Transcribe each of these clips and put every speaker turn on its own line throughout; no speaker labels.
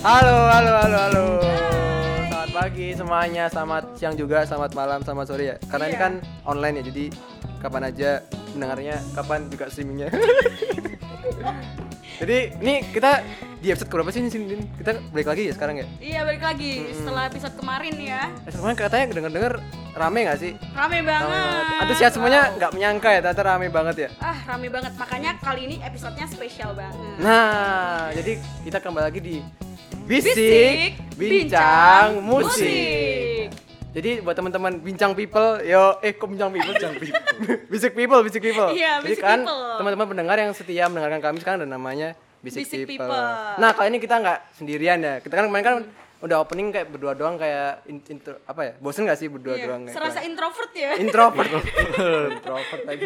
Halo, halo, halo, halo. Selamat pagi semuanya, selamat siang juga, selamat malam, selamat sore ya. Karena ini
Iya.
kan online ya, jadi kapan aja mendengarnya, kapan juga streamingnya. jadi ini kita di episode berapa sih ini Sin, Din? Kita balik lagi ya sekarang ya.
Iya balik lagi setelah episode kemarin ya
Eh, Semuanya katanya denger-denger rame gak sih?
Rame
Rame
banget
banget. Antusias semuanya nggak menyangka ya, ternyata rame banget ya.
Ah rame banget makanya kali ini episodenya spesial banget
Nah, jadi kita kembali lagi di Bisik, Bincang, musik. Jadi buat teman-teman bincang people, yo eh kok bincang people? bincang people. bisik people, bisik people.
Iya,
Jadi
bisik
kan
people.
teman-teman pendengar yang setia mendengarkan kami sekarang dan namanya bisik,
Bisik
people.
People.
Nah, kali ini kita nggak sendirian ya. Kita kan kemarin kan udah opening kayak berdua doang kayak in- intro apa ya? Bosen gak sih berdua
Iya,
doang kayak
Serasa introvert ya
introvert introvert lagi.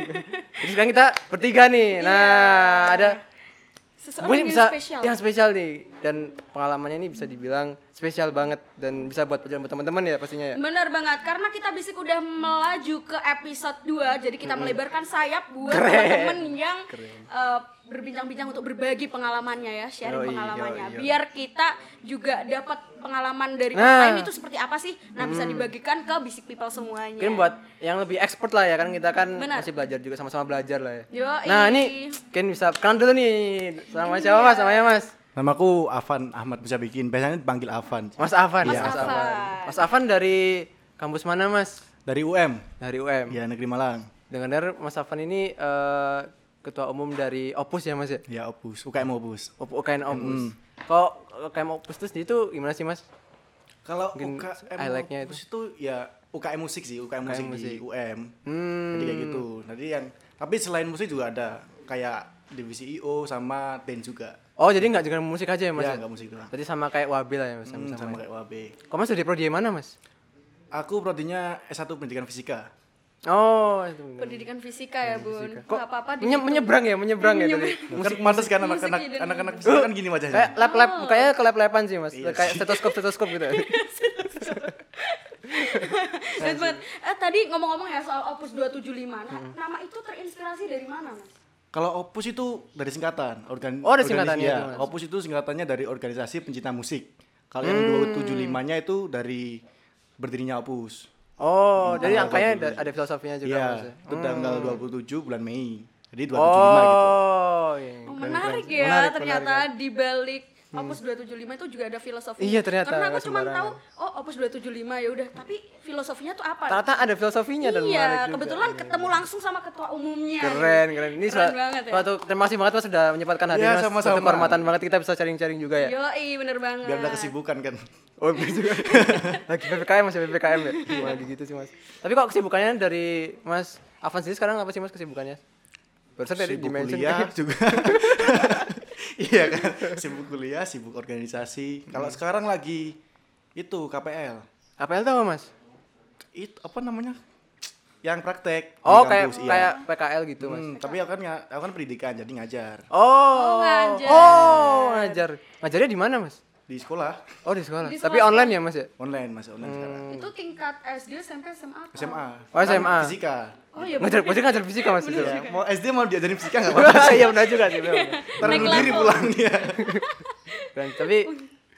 Jadi sekarang kita bertiga nih. Nah, ada Gue
Seseorang Iya. yang
bisa
spesial
yang spesial nih dan pengalamannya ini bisa dibilang spesial banget dan bisa buat pelajaran buat teman-teman ya pastinya ya.
Bener banget, karena kita bisik udah melaju ke episode 2 Jadi kita melebarkan sayap buat
Keren.
temen-temen yang eh, berbincang-bincang untuk berbagi pengalamannya ya Sharing
Yoi,
pengalamannya
yoi.
Biar kita juga dapat pengalaman dari
Nah.
orang lain itu seperti apa sih Nah bisa dibagikan ke bisik people semuanya
Mungkin buat yang lebih expert lah ya kan kita kan
Iya. Benar.
masih belajar juga sama-sama belajar lah ya.
Yoi.
Nah, ini mungkin bisa kenal dulu nih.
Iya.
Sama siapa Mas? Namanya Mas.
Namaku Avan Ahmad bisa bikin. Biasanya dipanggil Avan.
Mas Afan.
Mas
ya,
Afan.
Mas Afan dari kampus mana Mas?
Dari UM.
Dari UM.
Ya Negeri Malang.
Dengar Mas Afan ini eh, ketua umum dari Opus ya Mas ya?
Ya Opus, UKM Opus.
Op- UKM Opus. Kok UKM Opus terus itu gimana sih Mas?
Kalau
Mungkin
UKM
I like-nya
Opus itu. ya UKM musik sih, UKM, musik, di UM.
Hmm.
Jadi kayak gitu. Nanti yang tapi selain musik juga ada kayak divisi IO sama dance juga.
Oh jadi nggak dengerin musik aja ya mas?
Ya, nggak musik doang.
Berarti sama kayak Wabil lah ya mas? Sama,
Hmm, sama
sama.
kayak UAB.
Kok mas dari prodi yang mana mas?
Aku prodinya S1 Pendidikan Fisika.
Oh itu bener.
Pendidikan fisika ya bun
Kok
Gak apa-apa
menye- menyeberang ya? Menyeberang ya tadi?
Musik kan pantas kan anak-anak
musik dan-
anak-anak fisika kan gini
Kayak
wajahnya.
lap-lap, kayaknya kelap-lapan sih mas
Iya
Kayak
sih.
stetoskop-stetoskop gitu
Dan buat- eh, tadi ngomong-ngomong ya soal Opus 275 Nah,
Mm.
Nama itu terinspirasi dari mana mas?
Kalau Opus itu dari singkatan, organ
Oh, ada
organis-
singkatannya
iya.
itu, Mas.
Opus itu singkatannya dari organisasi pencinta musik. Kalau
Hmm.
yang 275-nya itu dari berdirinya Opus.
Oh jadi angkanya ada, ada filosofinya juga Mas, ya?
Iya, itu tanggal 27 bulan Mei. Jadi 275 gitu.
Oh iya.
Oh, menarik ya
Menarik, Hmm.
ternyata di balik Opus 275 itu juga ada filosofi.
Iya, ternyata,
Karena aku
nggak
cuma tahu
sembarangan.
oh Opus 275 ya udah, tapi filosofinya tuh apa?
Ternyata ada filosofinya dan
iya,
menarik juga. Hmm.
kebetulan ketemu langsung sama ketua umumnya.
keren keren ini
keren
suatu-
banget ya.
suatu terima kasih banget mas sudah menyempatkan hadirnya
Iya,
mas
sama-sama.
Suatu kehormatan banget kita bisa sharing-sharing juga ya
Yoi, bener banget.
Biar ada kesibukan kan.
Oh, bener juga. lagi PPKM masih PPKM ya. Wah,
Iya.
lagi gitu sih, Mas. Tapi kok kesibukannya dari Mas Avan sendiri sekarang apa sih, Mas, kesibukannya? Barusan tadi
Sibuk
di-mention gitu.
kuliah juga. iya kan, sibuk kuliah, sibuk organisasi. Kalau
Hmm.
sekarang lagi itu KPL.
Apa yang tahu, Mas?
Itu apa namanya? Yang praktek di
Oh, kayak
kampus, iya.
kayak PKL gitu, Mas.
Hmm, tapi aku kan nga- aku kan pendidikan jadi ngajar
Oh,
ngajar.
Oh, ngajar. Ngajarnya di mana, Mas?
di sekolah
Oh, di sekolah.
Di sekolah.
Tapi online ya, Mas ya?
online mas online sekarang
Itu tingkat SD, SMP, SMA. apa?
SMA
Oh,
Kan
SMA.
fisika
Oh iya.
Ngajar, ngajar, ngajar fisika, Mas. itu.
ya, mau SD mau diajarin fisika nggak apa-apa
Wah, Iya, benar juga sih. memang.
ntar
Naik
bunuh diri
level.
pulang ya. dia
Dan tapi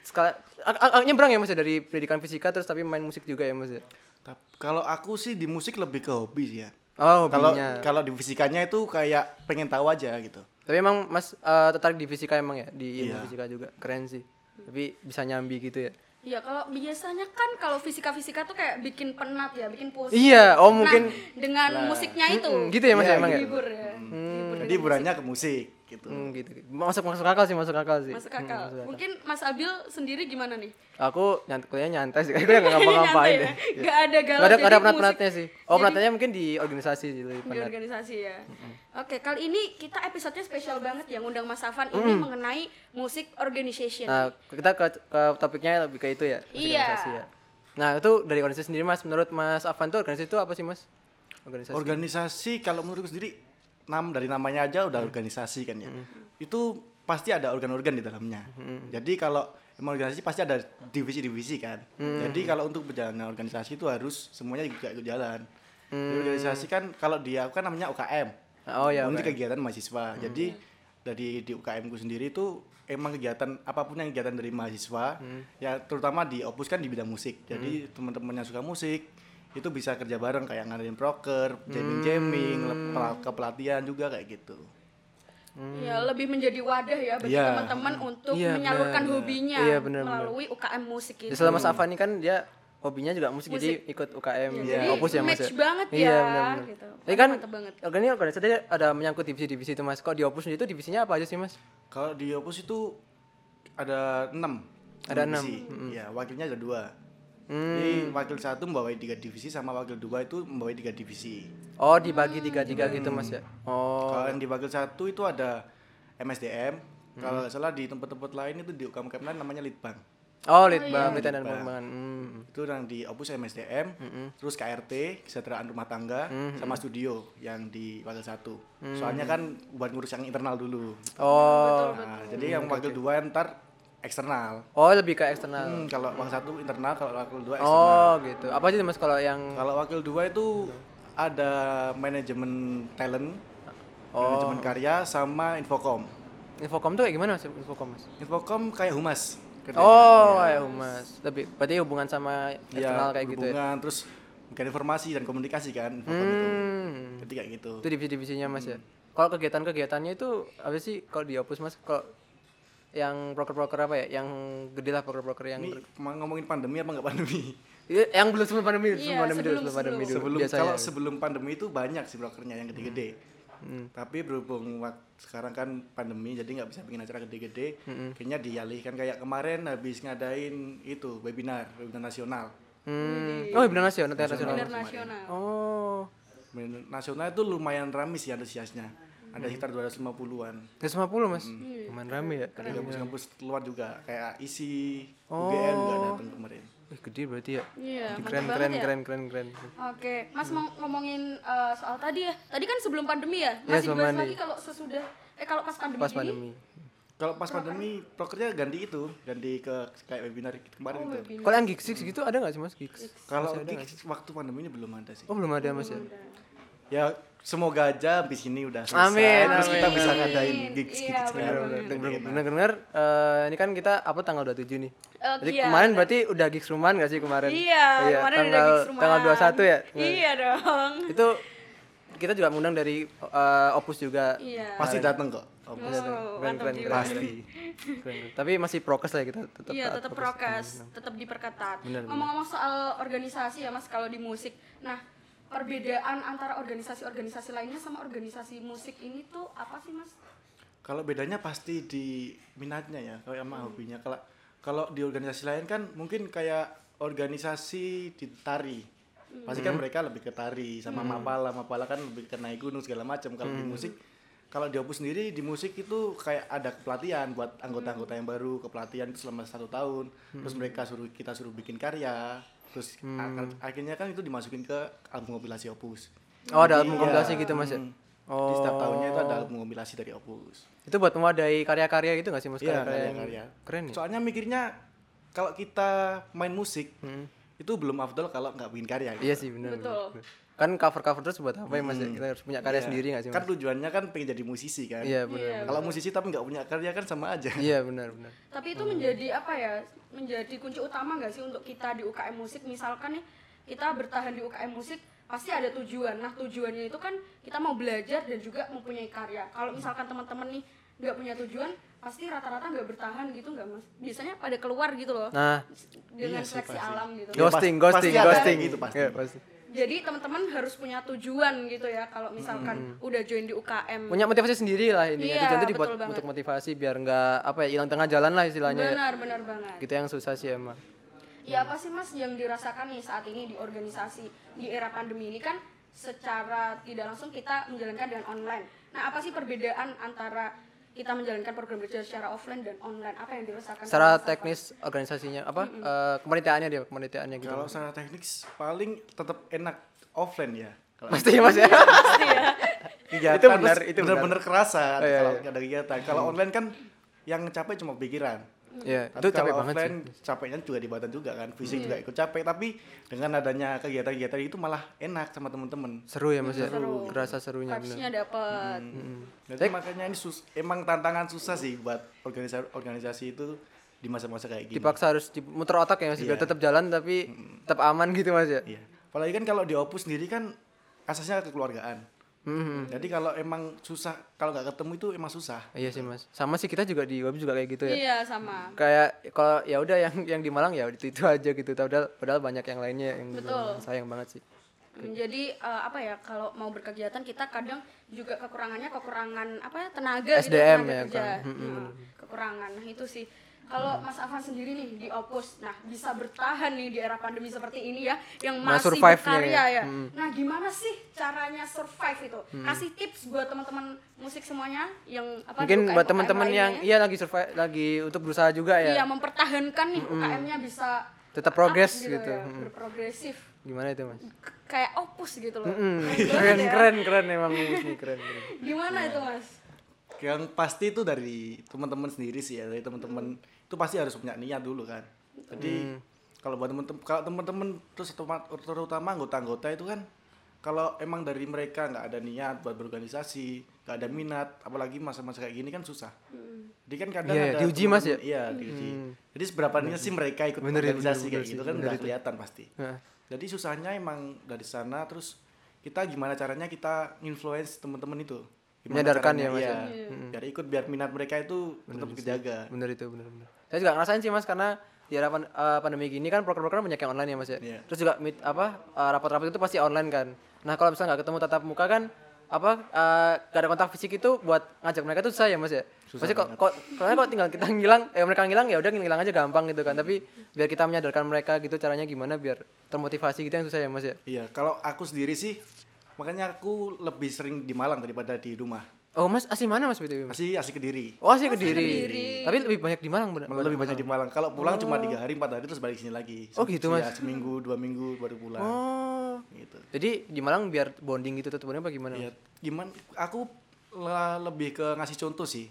sekala, a- a- a- nyebrang ya Mas ya dari pendidikan fisika terus tapi main musik juga ya Mas ya.
Tap- kalau aku sih di musik lebih ke hobi sih ya
Oh,
kalau
hobinya.
kalau di fisikanya itu kayak pengen tahu aja gitu
Tapi emang Mas eh, tertarik di fisika emang ya? Di ilmu
Iya.
fisika juga. Keren sih. Tapi bisa nyambi gitu ya.
Iya, kalau biasanya kan kalau fisika-fisika tuh kayak bikin penat ya, bikin pusing.
Iya, oh
Nah,
mungkin
dengan musiknya itu.
Mm, gitu ya Mas
Iya,
ya, emang ya.
Hibur ya. Hibur
jadi
dengan
hiburannya ke musik gitu
Hmm, gitu. Masuk masuk akal sih, Hmm, masuk akal sih.
Masuk akal. Mungkin Mas Abil sendiri gimana nih?
Aku nyant kuliahnya nyantai sih. Aku nggak ngapa-ngapain
Nyantai
deh.
ya? Gak
Gak
ada galau.
ada, Iya.
jadi
nggak ada
musik
penat-penatnya sih. Oh, penatnya mungkin di organisasi sih lebih
Di
penat.
organisasi ya. Oke, kali ini kita episodenya spesial banget yang undang Mas Afan ini mengenai musik organization.
Nah, kita ke, ke topiknya lebih ke itu ya, musik
Iya.
organisasi ya. Nah, itu dari organisasi sendiri Mas, menurut Mas Afan tuh organisasi itu apa sih Mas? Organisasi.
organisasi kalau menurutku sendiri nam dari namanya aja udah organisasi kan ya itu pasti ada organ-organ di dalamnya jadi kalau emang organisasi pasti ada divisi-divisi kan jadi kalau untuk berjalannya organisasi itu harus semuanya juga ikut jalan Jadi organisasi kan kalau dia kan namanya UKM
Nah, oh Hmm. ya.
Unit kegiatan mahasiswa jadi dari di UKM ku sendiri itu emang kegiatan apapun yang kegiatan dari mahasiswa
Hmm.
ya terutama di Opus kan di bidang musik. Jadi teman-teman yang suka musik itu bisa kerja bareng kayak ngadain proker,
Hmm.
jamming-jamming, lep- pel- kepelatihan juga kayak gitu.
Ya, lebih menjadi wadah ya bagi
Iya.
teman-teman untuk
Iya,
menyalurkan
benar.
hobinya
Iya, benar, benar.
melalui UKM musik itu.
Jadi selama Safa ini kan dia hobinya juga musik, jadi ikut UKM
Ya, jadi
opus ya mas
match banget
iya,
ya,
benar-benar.
gitu.
Tapi kan
Mantap banget.
organisasi organisasi tadi ada menyangkut divisi-divisi itu mas. Kok di opus sendiri itu divisinya apa aja sih mas?
Kalau di Opus itu ada 6
Ada enam, Hmm.
Ya, wakilnya ada dua. Jadi wakil satu membawai tiga divisi sama wakil dua itu membawai tiga divisi.
Oh dibagi
Hmm.
tiga-tiga gitu mas ya. Oh
Kalau yang di wakil satu itu ada MSDM.
Hmm.
Kalau nggak salah di tempat-tempat lain itu di UKM UKM lain namanya Litbang.
oh litbang,
iya.
pelatihan dan pengembangan. Hmm.
Itu yang di Opus MSDM, terus KRT, kesejahteraan rumah tangga, sama studio yang di wakil satu. Soalnya kan buat ngurus yang internal dulu.
Oh
Nah, jadi yang wakil dua ntar eksternal.
oh lebih ke eksternal.
Hmm, kalau wakil satu internal, kalau wakil dua eksternal.
Oh gitu. Apa sih mas kalau yang
Kalau wakil dua itu ada manajemen talent,
Oh.
manajemen karya sama infocom.
infocom tuh kayak gimana mas? Infocom mas?
Infocom kayak humas. kerjanya.
Oh ya humas. Lebih berarti hubungan sama
Ya,
eksternal kayak gitu ya.
hubungan, terus bukan informasi dan komunikasi kan infocom itu.
Hmm.
Jadi kayak gitu.
Itu divisi-divisinya mas ya. Kalau kegiatan-kegiatannya itu apa sih kalau di Opus mas? Kalau yang broker-broker apa ya? Yang gede lah broker-broker yang
Ini mau ngomongin pandemi apa nggak pandemi?
Iya, yang belum sebelum pandemi,
Iya,
sebelum pandemi dulu,
sebelum-
sebelum pandemi dulu
sebelum
biasanya.
kalau sebelum pandemi itu banyak sih brokernya yang gede-gede.
Hmm.
Tapi berhubung wak- sekarang kan pandemi jadi nggak bisa bikin acara gede-gede,
Hmm.
kayaknya dialihkan kayak kemarin habis ngadain itu webinar, webinar nasional.
Hmm. Oh, benar nasional, nanti nasional.
benar nasional.
Oh.
Webinar Nasional itu lumayan ramai sih antusiasnya.
Hmm.
Ada sekitar 250-an.
Dari 50, Mas. Lumayan rame ya. Oh.
Dari kampus-kampus luar juga kayak ISI, UGM juga datang kemarin.
Wih, gede berarti ya.
Iya, mantap
Keren,
banget
keren,
ya.
keren, keren, keren.
Oke, Mas mau ngomongin eh, soal tadi ya. Tadi kan sebelum pandemi ya. Masih
Iya, sebelum
dibahas
pandemi.
lagi kalau sesudah eh kalau pas pandemi
Pas
gini.
pandemi.
Kalau pas pandemi prokernya ganti itu, ganti ke kayak webinar gitu kemarin itu.
webinar.
Kalau yang Geeks Geeks gitu ada nggak sih, Mas? Geeks.
Kalau gigs waktu pandeminya belum ada sih.
Oh, belum ada, Mas ya.
Ya semoga aja abis ini udah selesai.
Amin,
Terus kita
amin.
bisa ngadain gigs gitu
Iya,
gigs
benar,
baru.
Bener-bener eh, ini kan kita upload tanggal 27 nih.
Eh,
Jadi
iya.
kemarin berarti udah Geeks Ruman nggak sih kemarin?
Iya, kemarin
tanggal,
ada gigs rumah.
tanggal 21 ya?
Iya dong.
Itu kita juga mengundang dari eh, Opus juga.
Iya.
Pasti dateng kok.
Oh,
Om.
Keren,
mantap
keren,
jiwa.
keren.
Pasti.
Keren. Tapi masih prokes lah ya kita Ah, tetap.
Iya,
taat
tetap prokes, tetap diperketat.
Benar, benar.
Ngomong-ngomong soal organisasi ya Mas kalau di musik. Nah, perbedaan antara organisasi-organisasi lainnya sama organisasi musik ini tuh apa sih Mas?
Kalau bedanya pasti di minatnya ya, kalau sama hobinya. Kalau kalau di organisasi lain kan mungkin kayak organisasi di tari. Pasti kan mereka lebih ke tari sama mapala, mapala kan lebih ke naik gunung segala macam. Kalau di musik kalau di Opus sendiri di musik itu kayak ada pelatihan buat anggota-anggota yang baru, kepelatihan itu selama satu tahun. Terus mereka suruh kita suruh bikin karya, terus ak- akhirnya kan itu dimasukin ke album kompilasi Opus.
Oh, ada
Jadi,
album
ya,
kompilasi gitu Mas ya?
mm, Di
Oh.
setiap tahunnya itu ada album kompilasi dari Opus.
Itu buat mewadahi karya-karya gitu nggak sih Mas?
Iya,
Karya-karya yang-
karya-karya.
Keren ya?
Soalnya mikirnya kalau kita main musik itu belum afdol kalau nggak bikin karya. gitu.
Hmm. Iya sih benar.
Betul.
benar. Kan cover-cover terus buat apa ya Mas? ya? Kita harus punya karya
Iya.
sendiri nggak sih
Kan
Mas?
tujuannya kan pengen jadi musisi kan.
Iya, benar.
Iya,
Kalau musisi tapi nggak punya karya kan sama aja.
Iya, benar, benar.
Tapi itu menjadi apa ya? Menjadi kunci utama nggak sih untuk kita di UKM musik? Misalkan nih kita bertahan di UKM musik pasti ada tujuan. Nah tujuannya itu kan kita mau belajar dan juga mempunyai karya. Kalau misalkan teman-teman nih nggak punya tujuan, pasti rata-rata nggak bertahan gitu nggak mas? Biasanya pada keluar gitu loh
Nah,
dengan
Iya sih,
seleksi
pasti.
alam gitu.
Iya.
ghosting,
pas-
ghosting,
pasti ada
ghosting.
kayak gitu, pasti.
Iya, pasti.
Jadi teman-teman harus punya tujuan gitu ya kalau misalkan udah join di UKM.
Punya motivasi sendiri lah ini.
Iya,
Tujuan itu
betul
dibuat
banget.
untuk motivasi biar nggak apa ya hilang tengah jalan lah istilahnya. ya.
Benar, benar banget.
Gitu yang susah sih emang.
Ya apa sih mas yang dirasakan nih saat ini di organisasi di era pandemi ini kan secara tidak langsung kita menjalankan dengan online. Nah apa sih perbedaan antara kita menjalankan program belajar secara offline dan online? Apa yang dirasakan?
Secara
sama Mas Afan?
teknis organisasinya apa? Eh, kemanitaannya dia, kemanitaannya gitu.
Kalau secara teknik paling tetap enak offline ya. Kalau
Pasti ya, Mas
Iya.
ya.
kegiatan
Itu benar,
terus
itu benar.
benar-benar kerasa
iya,
kalau
iya.
nggak ada kegiatan. Kalau online kan yang capek cuma pikiran.
Iya,
Tapi
itu capek
kalau
banget sih.
offline, capeknya juga di badan juga kan, fisik juga ikut capek. Tapi dengan adanya kegiatan-kegiatan itu malah enak sama temen-temen.
Seru ya Mas ya.
Seru.
Kerasa serunya
vibes-nya
benar.
dapat.
Jadi
Tapi-
makanya ini sus- emang tantangan susah sih buat organisasi organisasi itu di masa-masa kayak gini.
Dipaksa harus di- muter otak ya Mas, biar
Iya.
tetap jalan tapi tetap aman gitu Mas ya.
Iya. Apalagi kan kalau di opus sendiri kan asasnya kekeluargaan.
Mm-hmm.
Jadi kalau emang susah kalau nggak ketemu itu emang susah.
Iya sih Mas. Sama sih kita juga di web juga kayak gitu ya.
Iya, sama.
kayak kalau ya udah yang yang di Malang ya itu itu aja gitu padahal padahal banyak yang lainnya yang
Betul.
belum. sayang banget sih
Jadi eh, apa ya kalau mau berkegiatan kita kadang juga kekurangannya kekurangan apa ya tenaga gitu
SDM
tenaga
ya,
kerja.
kan.
Nah, kekurangan nah, itu sih. Kalau
Hmm.
Mas Afan sendiri nih di Opus, nah bisa bertahan nih di era pandemi seperti ini ya, yang
Nah,
masih
survive-nya
berkarya
ya. Hmm.
ya. Nah gimana sih caranya survive itu? Kasih tips buat teman-teman musik semuanya yang apa di
mungkin
UKM,
buat teman-teman
lainnya
yang
ya.
iya lagi survive lagi untuk berusaha juga ya
Iya, mempertahankan nih UKM-nya bisa
Hmm. Tetap
up
progres gitu.
ya,
Mm.
berprogresif
gimana itu mas
K- kayak opus gitu loh.
Hmm,
Keren
keren
banget ya.
keren keren emang Wisnu, keren, keren.
Gimana
Iya.
itu mas?
Yang pasti itu dari teman-teman sendiri sih ya, dari teman-teman itu pasti harus punya niat dulu kan.
Hmm.
Jadi kalau buat teman-teman kalau teman-teman terus terutama- terutama anggota-anggota itu kan kalau emang dari mereka nggak ada niat buat berorganisasi, nggak ada minat, apalagi masa-masa kayak gini kan susah. Jadi kan kadang
Iya,
ada
diuji, Mas, ya?
teman-teman- Iya, diuji. Jadi seberapa niat sih mereka ikut
Bener ya, bener,
organisasi
bener
kayak gitu
sih,
kan
bener
udah
itu.
kelihatan pasti.
Nah,
Jadi susahnya emang dari sana terus kita gimana caranya kita influence teman-teman itu. Gimana
Menyadarkan
caranya,
ya, Mas, ya?
iya. Biar ikut biar minat mereka itu tetap kejaga.
bener itu bener bener saya juga ngerasain sih mas karena di era pan- eh, pandemi gini kan program-program banyak yang online ya mas ya
Iya.
terus juga meet, apa eh, rapat-rapat itu pasti online kan nah kalau misalnya nggak ketemu tatap muka kan apa eh, nggak ada kontak fisik itu buat ngajak mereka tuh susah ya mas ya Maksudnya kok kok soalnya kok tinggal kita ngilang eh mereka ngilang ya udah ngilang aja gampang gitu kan tapi biar kita menyadarkan mereka gitu caranya gimana biar termotivasi gitu yang susah ya mas ya
Iya, kalau aku sendiri sih makanya aku lebih sering di Malang daripada di rumah.
oh mas asli mana mas btw mas
Masih asik Kediri.
oh asli kediri. tapi lebih banyak di Malang bener
Lebih banyak di Malang. Kalau pulang cuma tiga hari, empat hari terus balik sini lagi.
Oh, gitu, Mas.
Iya, seminggu, dua minggu baru pulang.
oh
Gitu.
jadi di Malang biar bonding gitu tetap apa gimana
Ya, gimana? Aku le- lebih ke ngasih contoh sih.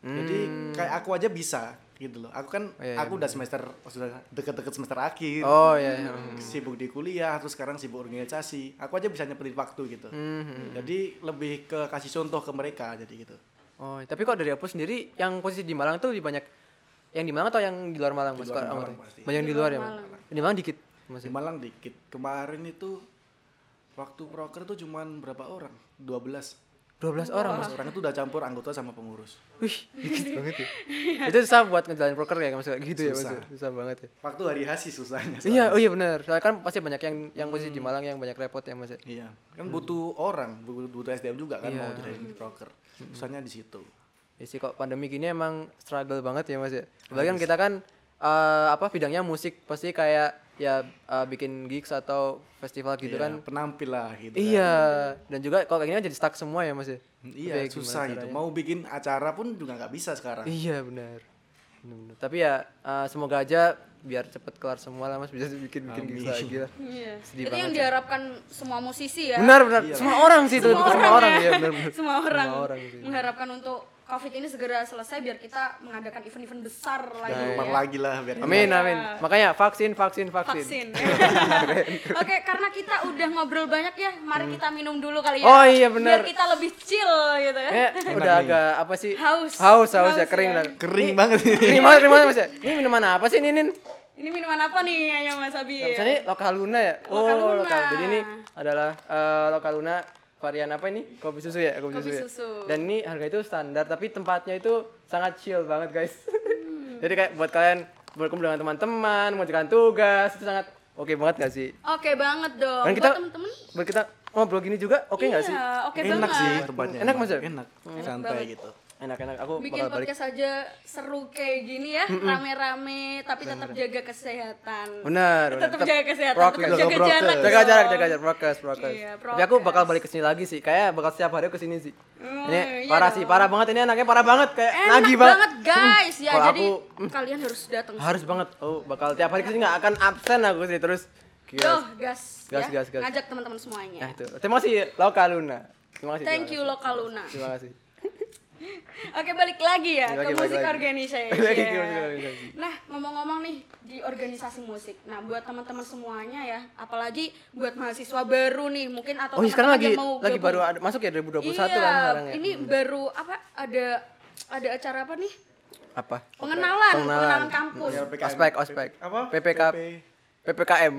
Jadi kayak aku aja bisa gitu loh. Aku
Oh,
kan
Hmm. iya, iya,
aku udah semester sudah deket-deket semester akhir.
Oh iya. iya.
Sibuk di kuliah, terus sekarang sibuk organisasi. Aku aja bisa nyepelin waktu gitu.
Hmm,
Jadi lebih ke kasih contoh ke mereka jadi gitu.
Oh, tapi kok dari aku sendiri yang posisi di Malang tuh lebih banyak yang di Malang atau yang di luar Malang? Mas?
luar
Kalau
Malang
anggota?
pasti.
Banyak yang di luar ya, Mas? Di Malang dikit. Mas.
Di Malang dikit. Kemarin itu waktu proker tuh cuman berapa orang? 12.
12 orang, Mas.
12 orang itu udah campur anggota sama pengurus.
Wih, dikit banget ya. Itu susah buat ngejalanin proker ya, Mas. Kayak gitu ya, Mas.
Susah.
Susah banget ya.
Waktu hari hasi susahnya.
Iya, oh iya benar. Soalnya kan pasti banyak yang yang posisi di Malang yang banyak repot ya, Mas. ya.
Iya, kan butuh orang, bu- butuh SDM juga kan
Iya.
mau
Hmm.
jadi broker. Susahnya di situ.
Ya sih kok pandemi gini emang struggle banget ya mas ya. Apalagi kan kita kan eh, apa bidangnya musik pasti kayak ya eh, bikin gigs atau festival gitu
Iya,
kan
penampil lah gitu. kan.
Iya, dan juga kalau kayak gini jadi stuck semua ya Mas ya.
Iya,
Tapi ya
susah
gimana
gitu.
caranya?
Mau bikin acara pun juga nggak bisa sekarang.
Iya benar. Benar-benar. Tapi ya eh, semoga aja biar cepet kelar semua lah Mas bisa bikin bikin gigs
Amin.
lagi lah.
Iya.
Sedih
itu yang diharapkan semua musisi ya.
Benar
Iya.
benar. Semua orang sih itu
Semua
untuk
orang, ya.
ya benar benar.
semua orang.
Semua orang sih.
Mengharapkan untuk COVID ini segera selesai biar kita mengadakan event-event besar
Nah,
lagi.
Jangan
ya.
lempar lagi lah biar
Amin amin. Makanya vaksin vaksin vaksin.
Iya. Vaksin. Oke, karena kita udah ngobrol banyak ya, mari kita minum dulu kali ya.
Hmm. Oh, iya, benar.
Biar kita lebih chill gitu ya.
Eh, udah agak apa sih?
Haus.
Haus, haus ya
Haus
kering
ya.
lah.
kering banget ini.
Kering banget, kering banget Mas ya. Ini minuman apa sih ini, Nin?
Ini minuman apa nih yang Mas Abi?
Misalnya lokal Luna ya. Oh,
Iya. Lokal Luna.
lokal. Jadi ini adalah eh, lokal Luna varian apa ini? Kopi susu ya, kopi, susu,
Kopi
ya?
susu.
Dan ini harga itu standar tapi tempatnya itu sangat chill banget, guys.
Hmm.
Jadi kayak buat kalian berkumpul dengan teman-teman, mengerjakan tugas itu sangat oke banget gak sih?
Oke banget dong.
Dan kita
Oh, Buat temen-temen.
buat kita ngobrol gini juga oke nggak sih?
Iya, oke
Enak
banget.
sih tempatnya.
Enak, Mas, ya?
Enak. Santai gitu.
Enak-enak aku
bikin
bakal balik.
podcast aja seru kayak gini ya rame-rame tapi tetap jaga kesehatan
Benar.
tetap jaga kesehatan
prokes.
tetap jaga
prokes.
jarak
jaga
dong.
jarak jaga jarak prokes prokes
Iya,
tapi aku bakal
prokes.
balik kesini lagi sih kayak bakal setiap hari aku kesini sih
Hmm,
ini
iya
parah
dong.
sih parah banget ini anaknya parah banget kayak
enak
nagih
banget, guys ya
Kalau
jadi
aku- mm.
kalian harus datang
harus banget oh bakal tiap hari kesini nggak akan absen aku sih terus Gila.
Duh, gas ya.
Gas, gas, gas.
ngajak teman-teman
nah
semuanya
itu terima kasih Loka Luna terima kasih
thank
terima
you Lokaluna
kasih. terima kasih
Oke balik lagi ya
Balik lagi, balik
ke musik
lagi.
organisasi. ya.
Balik lagi ke musik organisasi.
Nah ngomong-ngomong nih di organisasi musik. Nah buat teman-teman semuanya ya, apalagi buat mahasiswa baru nih mungkin atau
Oh, iya, sekarang lagi
teman-teman yang kan mau
lagi
gabung.
baru ada- masuk ya 2021
iya,
kan sekarang ya.
Ini baru apa ada ada acara apa nih?
apa?
Pengenalan, pengenalan,
Pengenalan.
kampus.
PPKM.
Ospek, ospek.
Apa?
PPK
PP.
PPKM.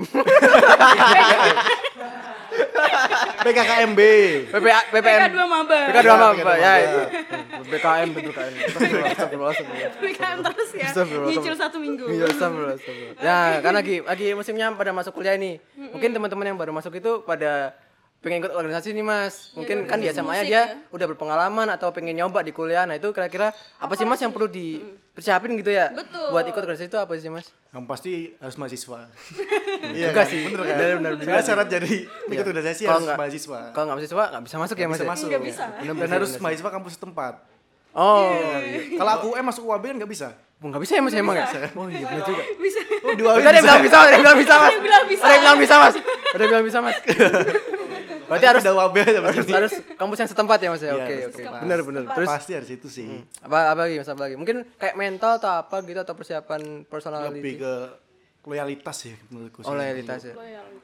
PKKMB.
PPA PPM.
PPK dua maba.
PPK dua
Iya,
maba, ya.
iya.
PPKM, PPKM. Astagfirullah, astagfirullah.
PPKM terus ya.
Astagfirullah.
Nyicil satu minggu.
Iya, astagfirullah, astagfirullah. Ya, kan lagi lagi musimnya pada masuk kuliah ini. Mungkin teman-teman yang baru masuk itu pada pengen ikut organisasi nih mas mungkin kan di SMA nya
Ya, musik
dia
ya.
udah berpengalaman atau pengen nyoba di kuliah nah itu kira-kira apa, sih mas yang perlu dipersiapin gitu ya
Betul.
buat ikut organisasi itu apa sih mas
Yang pasti harus mahasiswa. Iya
Juga
kan?
sih.
Bener kan?
Bener, bener, Iya.
Sebenarnya syarat jadi ikut organisasi
Kalau
harus
nggak-
mahasiswa.
kalau nggak mahasiswa nggak bisa masuk ya mas
Bisa
ya?
masuk.
Nggak bisa.
Dan
Bener,
harus
bener.
mahasiswa kampus setempat. Iya.
oh
Iya.
Kalau aku UM masuk UAB kan nggak bisa.
Oh, nggak bisa ya mas emang ya? Oh iya bener juga.
Bisa.
Oh, di UAB
Bisa, ada yang
bisa.
bilang bisa, ada yang bilang bisa mas.
yang bilang bisa.
Ada yang bilang bisa mas. Ada yang bilang bisa mas. Berarti harus
ada UAB aja
harus,
pasti.
harus kampus yang setempat ya mas ya.
Iya,
Oke
harus
oke. Hmm.
setempat.
Bener bener. Terus
pasti harus itu sih.
apa apa lagi mas apa lagi? Mungkin kayak mental atau apa gitu atau persiapan
Lebih
personality.
ke loyalitas ya menurutku. sih.
Oh loyalitas ya.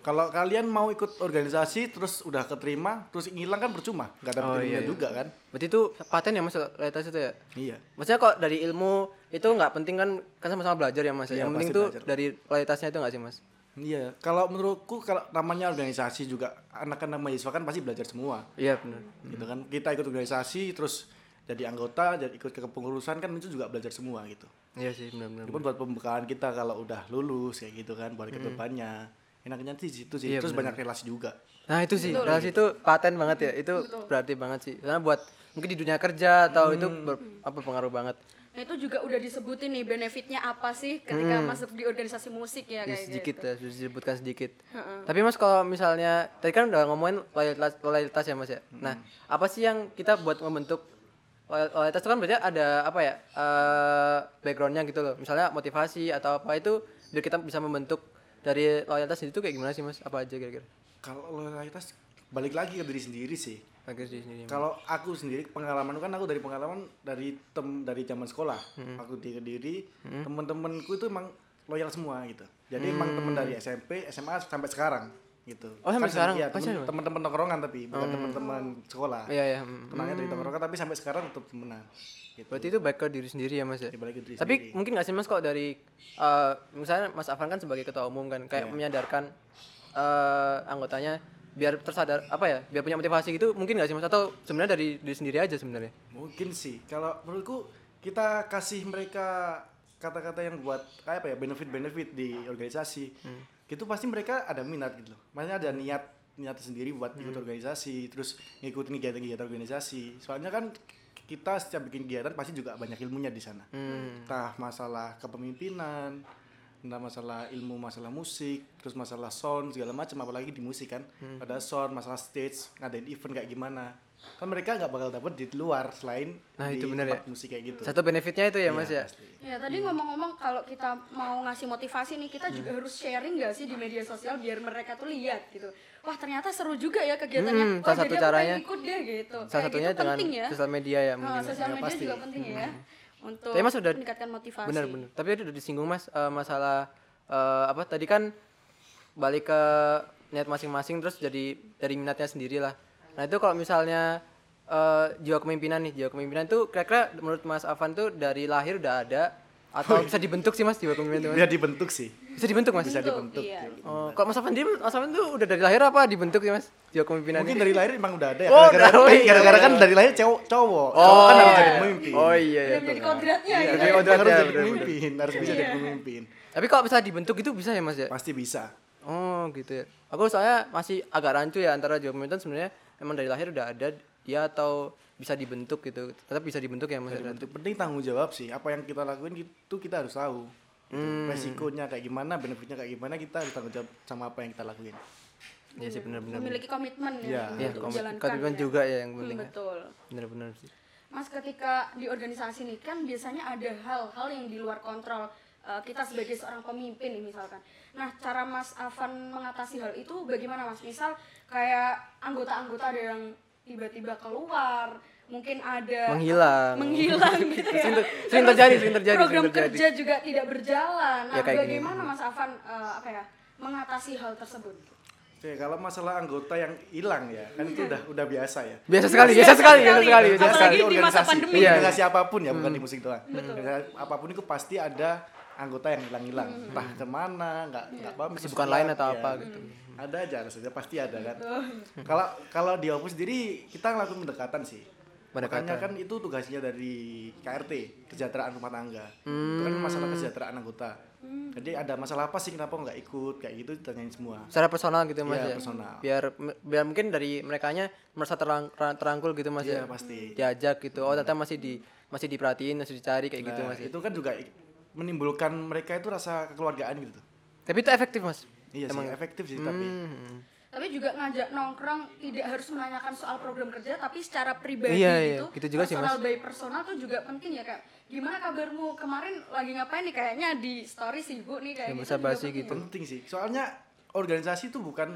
Kalau kalian mau ikut organisasi terus udah keterima terus ngilang kan percuma, nggak dapet
Oh, iya,
ilmunya
iya.
juga kan?
Berarti itu paten ya mas loyalitas itu ya.
Iya.
Maksudnya kok dari ilmu itu nggak penting kan kan sama-sama belajar ya mas. ya?
Iya,
yang penting
pasti
tuh
belajar.
dari loyalitasnya itu nggak sih mas?
Iya, kalau menurutku kalau namanya organisasi juga anak-anak mahasiswa kan pasti belajar semua.
Iya bener.
Gitu kan kita ikut organisasi terus jadi anggota, jadi ikut ke kepengurusan kan itu juga belajar semua gitu.
Iya sih bener bener.
Itu buat pembekalan kita kalau udah lulus kayak gitu kan buat kedepannya. Enaknya sih situ sih.
Hmm. Iya,
terus
bener.
banyak relasi juga.
Nah itu sih, relasi itu paten banget ya, itu berarti banget sih. Karena buat mungkin di dunia kerja atau
Hmm.
itu ber- apa pengaruh banget.
Nah, itu juga udah disebutin nih benefitnya apa sih ketika masuk di organisasi musik
Jadi
ya kayak
Hmm. sedikit
gitu.
ya, sudah disebutkan sedikit. Tapi mas kalau misalnya tadi kan udah ngomongin loyalitas, loyalitas ya mas ya. Nah apa sih yang kita buat membentuk loyal- loyalitas itu kan berarti ada apa ya eh, backgroundnya gitu loh. Misalnya motivasi atau apa itu biar kita bisa membentuk dari loyalitas itu kayak gimana sih mas? Apa aja kira-kira?
Kalau loyalitas balik lagi ke diri sendiri sih.
Bagus di sini.
Kalau aku sendiri pengalaman kan aku dari pengalaman dari tem dari zaman sekolah.
Hmm.
Aku di Kediri, temen-temenku itu emang loyal semua gitu. Jadi emang temen dari SMP, SMA sampai sekarang gitu.
Hmm. Oh, sampai
Kan
sekarang?
Iya,
Pasti
temen-
ada.
temen-temen tongkrongan tapi bukan temen-temen sekolah.
Iya ya. mm.
Temennya dari tongkrongan tapi sampai sekarang tetap temenan. Gitu.
Berarti itu baik ke diri sendiri ya mas ya?
Di balik diri
Tapi
sendiri.
mungkin nggak sih mas kok dari eh, misalnya Mas Afan kan sebagai ketua umum kan
Iya.
kayak menyadarkan eh, anggotanya biar tersadar apa ya biar punya motivasi gitu mungkin nggak sih mas atau sebenarnya dari diri sendiri aja sebenarnya?
Mungkin sih. Kalau menurutku kita kasih mereka kata-kata yang buat kayak apa ya benefit-benefit di organisasi. Itu pasti mereka ada minat gitu loh. Makanya ada niat niat sendiri buat ikut organisasi, terus ngikutin kegiatan-kegiatan organisasi. Soalnya kan kita setiap bikin kegiatan pasti juga banyak ilmunya di sana. Entah masalah kepemimpinan, entah masalah ilmu, masalah musik, terus masalah sound segala macam apalagi di musik kan.
Hmm.
Ada sound, masalah stage, ngadain event kayak gimana. Kan mereka nggak bakal dapet di luar selain
Nah,
di
itu bener
tempat
ya.
musik kayak gitu.
Satu benefitnya itu ya mas
Iya,
ya?
pasti.
Ya tadi ngomong-ngomong kalau kita mau ngasih motivasi nih kita juga
Hmm.
harus sharing gak sih di media sosial biar mereka tuh lihat gitu. Wah ternyata seru juga ya kegiatannya.
Hmm,
Wah,
salah
jadi
satu
aku
caranya-
pengen ikut deh gitu.
Salah
Kayak
satunya
gitu
dengan
penting ya.
sosial media ya
Ah,
mungkin. Mas.
sosial media juga penting ya untuk
Tapi Mas udah-
meningkatkan motivasi.
Bener bener. Tapi tadi udah disinggung mas eh, masalah eh, apa tadi kan balik ke niat masing-masing terus jadi dari minatnya sendiri lah. Nah itu kalau misalnya eh, jiwa kepemimpinan nih jiwa kepemimpinan itu kira-kira menurut Mas Afan tuh dari lahir udah ada atau bisa dibentuk sih mas jiwa kepemimpinan itu mas?
Bisa dibentuk sih.
Bisa dibentuk mas?
Bisa
Bentuk,
Iya. dibentuk.
iya.
Oh, kalau Mas Afan dia Mas Afan tuh udah dari lahir apa dibentuk sih mas jiwa kepemimpinan?
Mungkin dari lahir emang udah ada ya.
Oh,
Gara-gara
udah,
eh,
iya.
gara-gara kan dari lahir cowok, cowok. Cowok kan harus jadi pemimpin.
Oh iya iya.
Udah menjadi kodratnya
Iya,
gitu.
jadi-
Harus
kodrat ya,
jadi
bener-bener.
pemimpin, harus
Iya.
bisa jadi pemimpin.
Tapi kalau bisa dibentuk itu bisa ya mas ya?
Pasti bisa.
Oh gitu ya. Aku soalnya masih agak rancu ya antara Joe Milton sebenarnya emang dari lahir udah ada dia atau bisa dibentuk gitu. Tetap bisa dibentuk ya Mas.
Yang
Dibentuk.
penting- penting tanggung jawab sih apa yang kita lakuin itu kita harus tahu Gitu. resikonya kayak gimana benefitnya kayak gimana kita harus tanggung jawab sama apa yang kita lakuin
Iya sih benar-benar.
Memiliki komitmen
Iya.
ya,
Iya,
untuk
komitmen
menjalankan
komitmen
ya.
juga ya yang
Hmm,
penting. ya.
betul.
Benar-benar sih.
Mas ketika di organisasi nih kan biasanya ada hal-hal yang di luar kontrol eh, kita sebagai seorang pemimpin nih misalkan. Nah cara Mas Afan mengatasi hal itu bagaimana Mas? Misal kayak anggota-anggota ada yang tiba-tiba keluar mungkin ada
Menghilang.
menghilang gitu ya
Sering ter- sering terjadi,
Terus
sering terjadi,
program
sering terjadi.
kerja juga tidak berjalan nah
Ya, kayak gini.
bagaimana mas Afan eh, apa ya mengatasi hal tersebut
Oke, kalau masalah anggota yang hilang ya, kan itu udah udah biasa ya.
Biasa sekali, biasa sekali, biasa sekali, biasa
Apalagi
sekali.
di masa
organisasi,
pandemi.
Iya.
organisasi apapun ya, bukan di musik doang. Organisasi Apapun itu pasti ada anggota yang hilang-hilang,
Hmm.
entah kemana, nggak
Iya.
nggak paham.
Kesibukan
kesulitan,
lain atau
ya.
apa gitu.
Ada aja rasanya pasti ada kan. Kalau kalau di Opus sendiri kita ngelakuin pendekatan sih.
Pendekatan.
Makanya kan itu tugasnya dari KRT, kesejahteraan rumah tangga. Itu
Hmm.
kan masalah kesejahteraan anggota.
Hmm.
Jadi ada masalah apa sih kenapa nggak ikut kayak gitu ditanyain semua.
Secara personal gitu Mas
Iya,
ya.
personal.
Biar biar mungkin dari merekanya merasa terang, terangkul gitu Mas
Iya,
ya.
pasti.
Diajak gitu. Oh, ternyata masih di masih diperhatiin, masih dicari kayak gitu
Nah,
Mas. ya.
Itu kan juga i- menimbulkan mereka itu rasa kekeluargaan gitu.
Tapi itu efektif Mas.
Iya sih, efektif sih tapi.
Hmm.
tapi juga ngajak nongkrong tidak harus menanyakan soal program kerja tapi secara pribadi
Iya, iya.
gitu
Gitu juga sih,
personal by personal tuh juga penting ya kayak gimana kabarmu kemarin lagi ngapain nih kayaknya di story sibuk nih kayak
Ya,
gitu
bisa
juga
basi
penting
gitu.
ya.
Penting sih. Soalnya organisasi itu bukan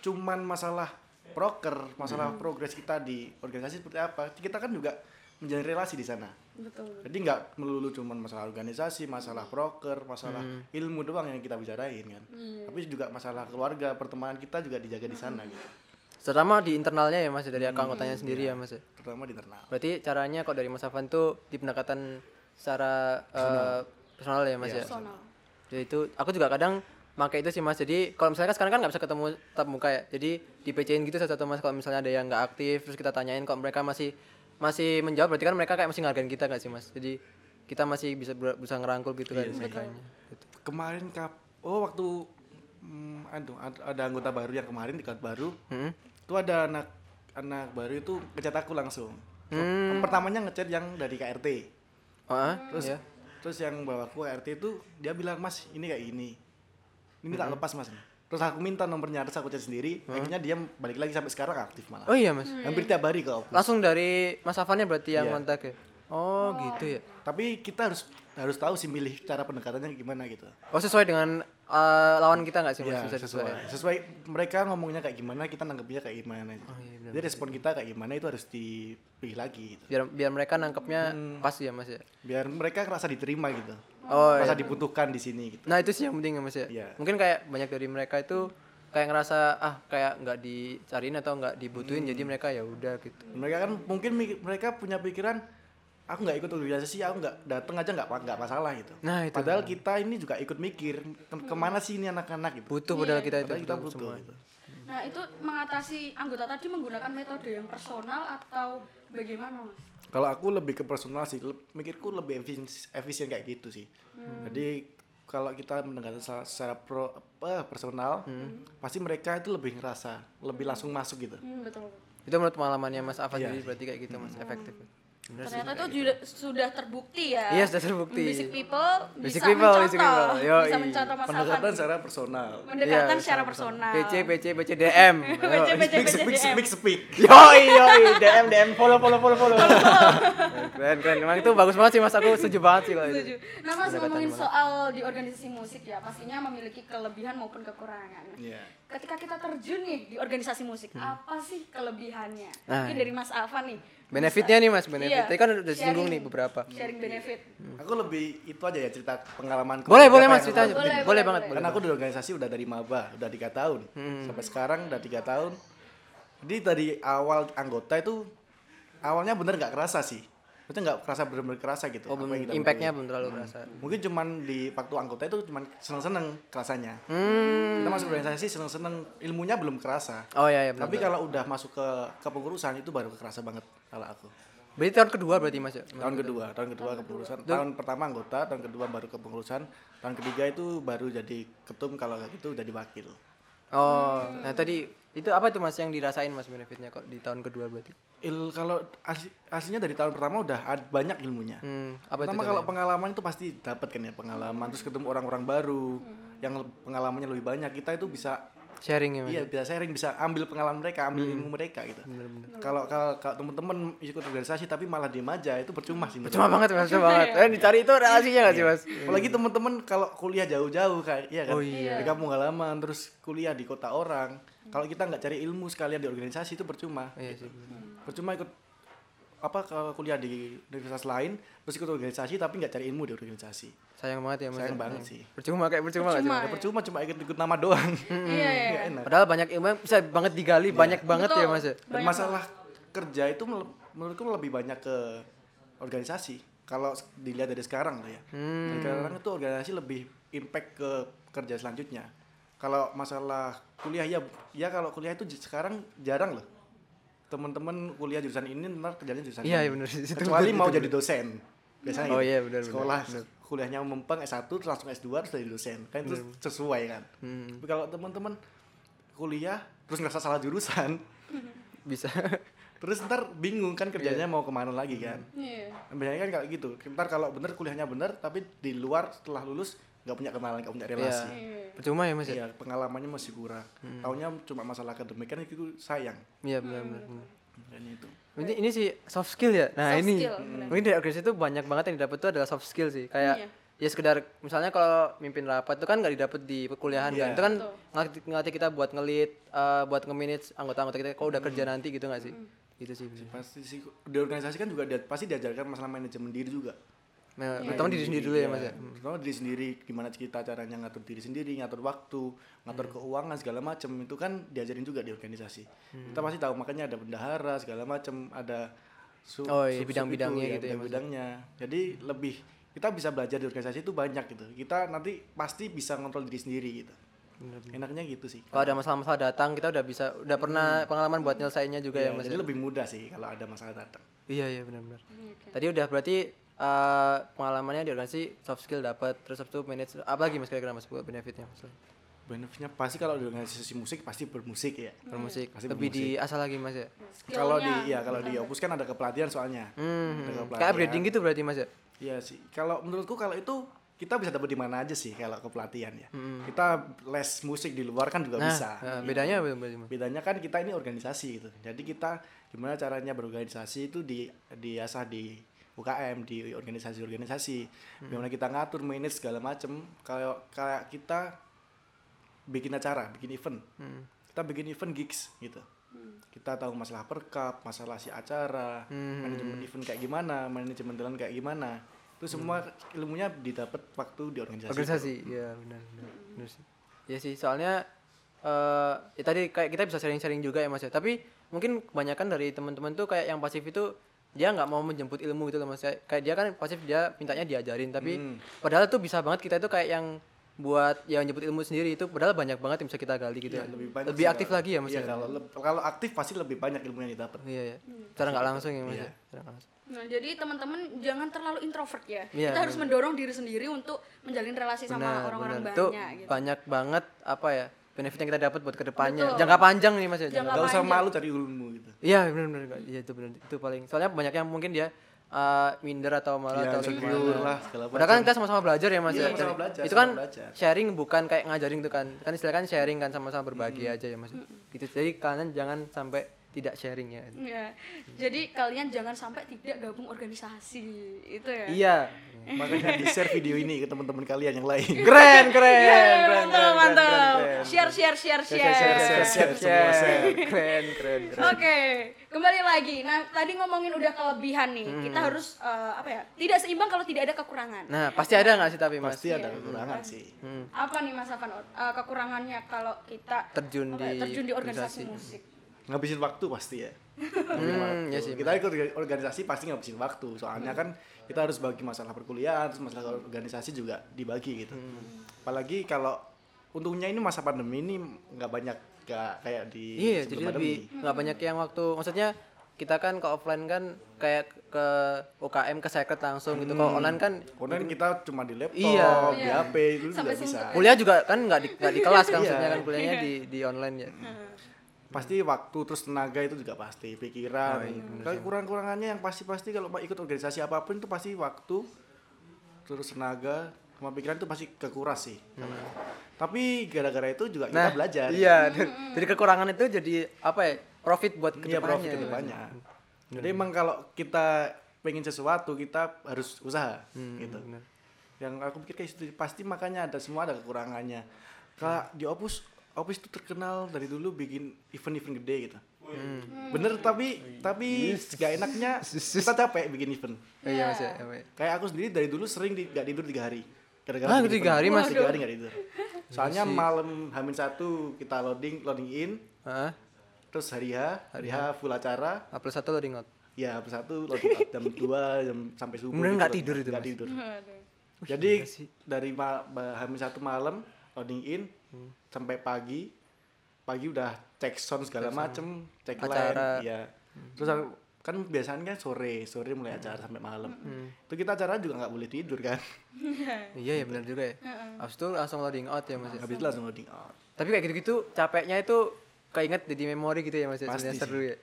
cuman masalah proker, masalah progres kita di organisasi seperti apa. Kita kan juga menjalin relasi di sana.
betul
Jadi nggak melulu cuman masalah organisasi, masalah proker, masalah ilmu doang yang kita bicarain kan. Tapi juga masalah keluarga, pertemanan kita juga dijaga di sana gitu.
Terutama di internalnya ya Mas ya, dari anggotanya sendiri ya Mas. ya.
Terutama di internal.
Berarti caranya kok dari Mas Afan tuh di pendekatan secara eh, personal ya Mas
Iya.
ya.
personal
Jadi itu aku juga kadang pakai itu sih Mas. Jadi kalau misalnya kan sekarang kan nggak bisa ketemu tatap muka ya. Jadi di PC-in gitu satu-satu Mas kalau misalnya ada yang nggak aktif terus kita tanyain kalau mereka masih masih menjawab berarti kan mereka kayak masih ngargain kita nggak sih Mas. Jadi kita masih bisa ber- bisa ngerangkul gitu
Iya,
kan mereka.
Kemarin kap oh waktu hmm, aduh ad- ada anggota baru yang kemarin di kantor baru.
Hmm.
Itu ada anak anak baru itu ngecat aku langsung. Pertamanya ngecat yang dari KRT.
Oh, ah, ya.
Terus yang bawa aku KRT itu dia bilang, "Mas, ini kayak gini." Ini tak lepas, Mas. Terus aku minta nomornya, terus aku chat sendiri. Akhirnya dia balik lagi sampai sekarang aktif malah.
Oh iya Mas.
Hampir tiap hari ke Opus.
Langsung dari Mas Afannya berarti yang
Iya.
kontak ya. Oh, gitu ya.
Tapi kita harus harus tahu sih milih cara pendekatannya gimana gitu.
Oh sesuai dengan eh, lawan kita nggak sih Mas?
Ya,
Bisa disesuaikan.
sesuai. Sesuai mereka ngomongnya kayak gimana, kita nanggepnya kayak gimana.
iya,
Jadi respon kita kayak gimana itu harus dipilih lagi gitu.
Biar biar mereka nangkepnya
Hmm.
pas ya Mas ya.
Biar mereka ngerasa diterima gitu.
Oh,
Merasa dibutuhkan di sini gitu.
Nah itu sih yang penting ya mas ya.
Iya.
Mungkin kayak banyak dari mereka itu kayak ngerasa ah kayak nggak dicariin atau nggak dibutuhin
Hmm.
jadi mereka ya udah gitu.
Mereka kan mungkin mi- mereka punya pikiran aku nggak ikut organisasi, aku nggak datang aja nggak pa- nggak masalah gitu.
Nah, itu.
Padahal kita ini juga ikut mikir ke- kemana sih ini anak-anak gitu.
Butuh padahal kita itu
Padahal kita
butuh
butuh.
semua.
gitu.
nah itu mengatasi anggota tadi menggunakan metode yang personal atau bagaimana mas
Kalau aku lebih ke personal sih, le- mikirku lebih efis- efisien kayak gitu sih.
Hmm.
Jadi kalau kita mendengar secara, secara pro, apa, personal, pasti mereka itu lebih ngerasa, lebih langsung masuk gitu.
hmm, betul
Itu menurut pengalamannya mas Afan
Iya.
jadi berarti kayak gitu mas efektif.
ternyata itu juga sudah terbukti ya
Iya, sudah terbukti.
basic people
Basic
bisa
people,
mencontoh
basic people. Yoi.
bisa mencontoh mas Afan
Pendekatan secara personal.
mendekatan
Iya,
secara personal
PC PC PC DM.
PC, PC,
Speak, speak,
DM.
speak, speak.
Yoi yoi DM DM follow follow follow follow. keren keren. Emang itu bagus banget sih mas aku setuju banget sih kalau
Setuju.
itu.
Nah, Mas ngomongin soal di organisasi musik ya, pastinya memiliki kelebihan maupun kekurangan.
Iya.
Ketika kita terjun nih di organisasi musik, apa sih kelebihannya?
Hmm. Nah,
Mungkin dari Mas Alfa nih.
Benefitnya nih mas benefit.
Iya.
Tadi kan udah singgung nih
Sharing.
beberapa.
Sharing benefit.
Aku lebih itu aja ya cerita pengalamanku.
Boleh
Apa
boleh
yang
mas
aku
ceritanya.
lakuin.
Boleh,
Boleh,
boleh
boleh,
banget.
boleh.
boleh.
Karena aku di organisasi udah dari maba, udah tiga tahun.
Hmm.
Sampai sekarang udah tiga tahun. Jadi dari awal anggota itu awalnya bener nggak kerasa sih. Maksudnya nggak kerasa bener-bener kerasa gitu.
Oh,
apa yang
belum-
kita Hmm.
impactnya belum terlalu kerasa.
mungkin cuman di waktu anggota itu cuman seneng-seneng kerasanya kita masuk organisasi seneng-seneng ilmunya belum kerasa
Hmm. Oh iya iya benar.
tapi kalau udah masuk ke kepengurusan itu baru kerasa banget kalau aku
Berarti tahun kedua berarti mas ya.
tahun kedua tahun kedua kepengurusan tahun pertama anggota tahun kedua baru kepengurusan tahun ketiga itu baru jadi ketum kalau nggak gitu jadi wakil
Oh, nah tadi itu apa tuh mas yang dirasain mas benefitnya kok di tahun kedua berarti?
Il kalau asli- aslinya dari tahun pertama udah ad- banyak ilmunya
Hmm, apa
Pertama
itu?
kalau pengalaman itu pasti dapat kan ya pengalaman terus ketemu orang-orang baru yang le- pengalamannya lebih banyak kita itu bisa
Sharing ya mas?
Iya, bisa sharing, bisa ambil pengalaman mereka, ambil ilmu mereka gitu. Kalau kalau kalau teman-teman ikut organisasi tapi malah diem aja, itu percuma sih. menurut
Cuma banget mas, cuma banget.
ya?
Eh dicari itu relasinya nggak sih mas?
gue. Apalagi Iya teman-teman kalau kuliah jauh-jauh kayak iya kan. Mereka mau pengalaman terus kuliah di kota orang. Kalau kita nggak cari ilmu sekalian di organisasi itu percuma.
Iya sih.
Percuma ikut apa ke- kuliah di universitas lain terus ikut organisasi tapi nggak cari ilmu di organisasi.
Sayang banget ya Mas.
Sayang
ya.
banget sih.
Percuma kayak percuma, nggak sih,
Percuma.
Mas?
Ya percuma cuma ikut ikut nama doang.
Hmm,
Iya, iya.
Nggak enak.
Padahal banyak ilmu yang bisa banget digali,
Iya.
banyak banget ya
Betul.
Mas. ya.
Dan
Banyak
masalah kerja itu mel- menurutku lebih banyak ke organisasi. Kalau s- dilihat dari sekarang lah ya.
Hmm.
Dari sekarang itu organisasi lebih impact ke kerja selanjutnya. Kalau masalah kuliah ya ya kalau kuliah itu j- sekarang jarang loh. Teman-teman kuliah jurusan ini ntar kerjanya jurusan
Iya,
ini.
iya bener. Itu
Kecuali
bener,
mau
itu
jadi dosen. Biasanya
Oh
gitu.
iya, bener, bener,
Sekolah
bener. Iya,
kuliahnya mempeng S1 terus langsung S2 terus jadi dosen. Kan itu sesuai kan.
Hmm.
Tapi kalau teman-teman kuliah terus ngerasa salah jurusan,
Bisa.
Terus ntar bingung kan kerjanya mau kemana lagi kan?
Iya.
Biasanya kan kayak gitu. Ntar kalau bener kuliahnya bener, tapi di luar setelah lulus nggak punya kenalan, nggak punya relasi.
Iya.
Iya.
Percuma ya Mas. ya?
Iya, pengalamannya masih kurang. Taunya cuma masalah akademik kan itu sayang.
Iya benar benar. benar.
Dan itu.
Ini, ini sih soft skill ya. Nah
Soft
ini
skill, benar.
mungkin dari organisasi itu banyak banget yang didapat tuh adalah soft skill sih. Kayak ya
Iya.
sekedar misalnya kalau mimpin rapat itu kan nggak didapat di perkuliahan kan.
Iya.
Itu kan
Betul.
ngelatih, ngelatih kita buat ngelit, eh, buat nge-manage anggota-anggota kita kalau udah
Hmm.
kerja nanti gitu nggak sih?
Hmm.
Gitu sih. bener.
Pasti sih di organisasi kan juga dia, pasti diajarkan masalah manajemen diri juga.
Nah,
Iya,
Iya.
Terutama diri sendiri dulu ya Mas ya.
Terutama diri sendiri gimana kita caranya ngatur diri sendiri, ngatur waktu,
Iya.
ngatur keuangan segala macam itu kan diajarin juga di organisasi.
Hmm.
Kita pasti tahu makanya ada bendahara segala macam, ada su-
Oh, iya,
sub- sub
bidang-bidangnya
itu,
gitu ya, Mas.
bidang-bidangnya. Jadi lebih kita bisa belajar di organisasi itu banyak gitu. Kita nanti pasti bisa ngontrol diri sendiri gitu. Enaknya gitu sih.
Kalau ada masalah-masalah datang kita udah bisa udah pernah pengalaman buat nyelesainnya juga ya
Hmm. Iya,
Mas.
jadi
ya?
lebih mudah sih kalau ada masalah datang.
Iya iya benar-benar. Tadi udah berarti eh, pengalamannya di organisasi soft skill dapat terus habis itu manage apa lagi Mas kira-kira Mas buat benefitnya Mas?
Benefitnya pasti kalau di organisasi musik pasti bermusik ya.
Hmm.
bermusik
Pasti
lebih di asal lagi mas ya
Kalau di ya kalau di Opus kan ada kepelatihan soalnya. Ada
hmm.
kepelatihan.
kayak upgrading gitu berarti mas ya
Iya sih. Kalau menurutku kalau itu kita bisa dapat di mana aja sih kalau kepelatihan ya. Kita les musik di luar kan juga bisa.
Nah, bedanya apa berarti mas
Bedanya kan kita ini organisasi gitu. Jadi kita gimana caranya berorganisasi itu di diasah di UKM di organisasi-organisasi.
Hmm.
Gimana kita ngatur manage segala macem. Kalau kayak kita bikin acara, bikin event.
Hmm.
Kita bikin event gigs gitu. Kita tahu masalah perkap, masalah si acara,
Hmm.
manajemen event kayak gimana, manajemen jalan kayak gimana. Itu semua ilmunya didapat waktu di organisasi.
Hmm. organisasi iya benar benar Benar sih ya sih soalnya eh ya tadi kayak kita bisa sharing-sharing juga ya mas ya tapi mungkin kebanyakan dari teman-teman tuh kayak yang pasif itu dia nggak mau menjemput ilmu gitu loh mas kayak kayak dia kan pasif dia mintanya diajarin tapi
Hmm.
padahal tuh bisa banget kita itu kayak yang buat yang jemput ilmu sendiri itu padahal banyak banget yang bisa kita gali gitu
Iya,
ya.
lebih banyak sih
aktif
kalau-
lagi ya mas
Iya,
ya?
kalau leb- kalau aktif pasti lebih banyak ilmu yang didapat.
iya ya cara nggak langsung ya mas ya?
Iya.
Cara nggak langsung.
Nah, jadi teman-teman jangan terlalu introvert ya.
Iya,
Kita harus mendorong diri sendiri untuk menjalin relasi sama orang-orang
benar. Nah,
banyak
itu
gitu.
banyak banget apa ya benefit yang kita dapat buat kedepannya
Betul.
jangka panjang nih mas ya
Jangka
jangka
Gak usah
panjang.
malu cari ilmu gitu.
iya benar-benar Kak. iya itu benar itu paling soalnya banyak yang mungkin dia eh, minder atau malah
Iya,
atau
insecure
gimana.
lah, segala
Padahal kan kita sama-sama belajar ya mas
Iya,
ya
sama-sama
Dan
belajar,
itu kan
sama-sama belajar.
sharing bukan kayak ngajarin tuh kan kan istilahnya kan sharing kan sama-sama berbagi aja ya mas gitu jadi kalian jangan sampai tidak sharing ya
Ya. Jadi kalian jangan sampai tidak gabung organisasi itu ya.
iya
Makanya di-share video ini ke teman-teman kalian yang lain.
keren keren
Yeay,
keren, keren,
mantap, Iya, mantap.
keren, keren.
Share, share, share, share.
share, share.
Share,
Semua share.
keren keren keren
Oke, kembali lagi. Nah, tadi ngomongin udah kelebihan nih.
Hmm.
Kita harus eh, apa ya? Tidak seimbang kalau tidak ada kekurangan.
nah pasti ada nggak sih tapi mas
Pasti ada kekurangan sih.
Hmm.
Apa nih Mas Afan eh, kekurangannya kalau kita
Terjun di
apa ya,
Hmm.
terjun di organisasi musik?
Ngabisin waktu pasti ya. Ngabisin waktu.
iya sih,
kita ikut organisasi pasti ngabisin waktu. Soalnya kan kita harus bagi masalah perkuliahan, terus masalah organisasi juga dibagi gitu.
Hmm.
Apalagi kalau untungnya ini masa pandemi ini nggak banyak nggak kayak di
Iya,
sebelum
jadi
pandemi.
lebih nggak banyak yang waktu. Maksudnya kita kan ke offline kan kayak ke UKM ke secret langsung gitu.
Hmm.
Kalau online kan
Online kita cuma di laptop,
Iya.
di HP, itu
Sampai
nggak bisa.
kuliah juga kan nggak di, nggak di kelas
Iya.
kan maksudnya kan kuliahnya di di online ya.
Hmm. pasti waktu terus tenaga itu juga pasti pikiran kalau kurang-kurangannya yang pasti-pasti kalau mau ikut organisasi apapun itu pasti waktu terus tenaga sama pikiran itu pasti kekuras sih tapi gara-gara itu juga kita belajar
Iya, jadi kekurangan itu jadi apa ya? Profit buat
iya
kedepannya.
prof
gitu kan. Hmm.
kedepannya jadi emang kalau kita pengen sesuatu kita harus usaha
Hmm,
gitu yang aku pikir kayak situ, pasti makanya ada semua ada kekurangannya kalau di opus Opis itu terkenal dari dulu bikin event-event gede gitu.
Hmm.
Bener tapi tapi gak enaknya kita capek bikin event.
Oh, iya mas ya. iya, Mas.
Kayak aku sendiri dari dulu sering di, gak tidur tiga hari.
Ah,
Gara-gara bikin
tiga
event.
hari, Mas?
Tiga hari gak tidur. Soalnya malam hamin satu kita loading loading in,
Hah?
terus hari H, hari H full acara,
Upload satu loading out.
Ya habis satu loading up jam 2 jam sampai subuh.
Beneran
gitu
nggak
loading
tidur
up,
itu,
nggak
Mas?
tidur.
Aduh.
Jadi
gila sih.
dari ma- ma- hamil satu malam loading in
Hmm.
sampai pagi. Pagi udah cek sound segala macem, cek
Acara. Hmm.
line, ya. Terus aku- kan biasanya sore, sore mulai acara sampai malam.
Hmm.
Itu kita acara juga nggak boleh tidur kan.
Iya ya benar juga ya. Abis itu langsung loading out ya mas ya.
Habis itu langsung loading out.
Tapi kayak gitu-gitu capeknya itu keinget jadi memori gitu ya mas ya.
Pasti
Sebenarnya
sih.
seru ya.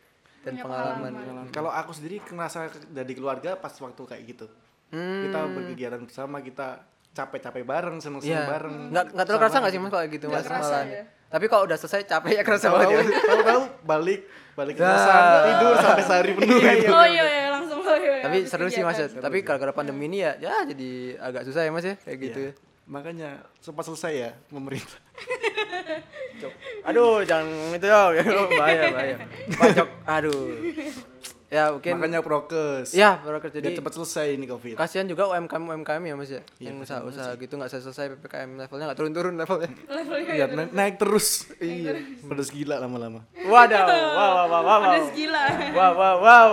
Dan
Punya
pengalaman.
Iya. Kalau aku sendiri ngerasa ke- dari keluarga pas waktu kayak gitu. Kita berkegiatan bersama, kita capek-capek
Hmm.
bareng,
Iya.
seneng-seneng bareng.
Nggak nggak terlalu
Sama
kerasa nggak sih mas kalau gitu
Nggak
mas
kerasa,
malah.
ya.
Tapi kalau udah selesai capek ya kerasa banget.
tahu
ya.
tahu tahu balik balik ke
Nah.
kosan tidur sampai sehari penuh gitu.
Oh iya iya langsung oh, iya, iya,
Tapi
habis
seru sih mas ya.
kegiatan.
Tapi gara-gara pandemi ini ya, ya jadi agak susah ya mas ya kayak gitu.
Iya. makanya sempat selesai ya pemerintah
Aduh jangan itu ya bahaya bahaya. Pajok. Aduh. Ya mungkin. Kan
makanya prokes
Ya baru kerja di
biar cepat selesai ini covid
kasihan juga UMKM UMKM ya Mas ya. yang usaha-usaha gitu nggak selesai PPKM levelnya nggak turun-turun levelnya.
levelnya
Iya, na- naik terus iya pedes gila lama-lama
Waduh, wow wow wow wow.
pedes gila.
Wow wow wow.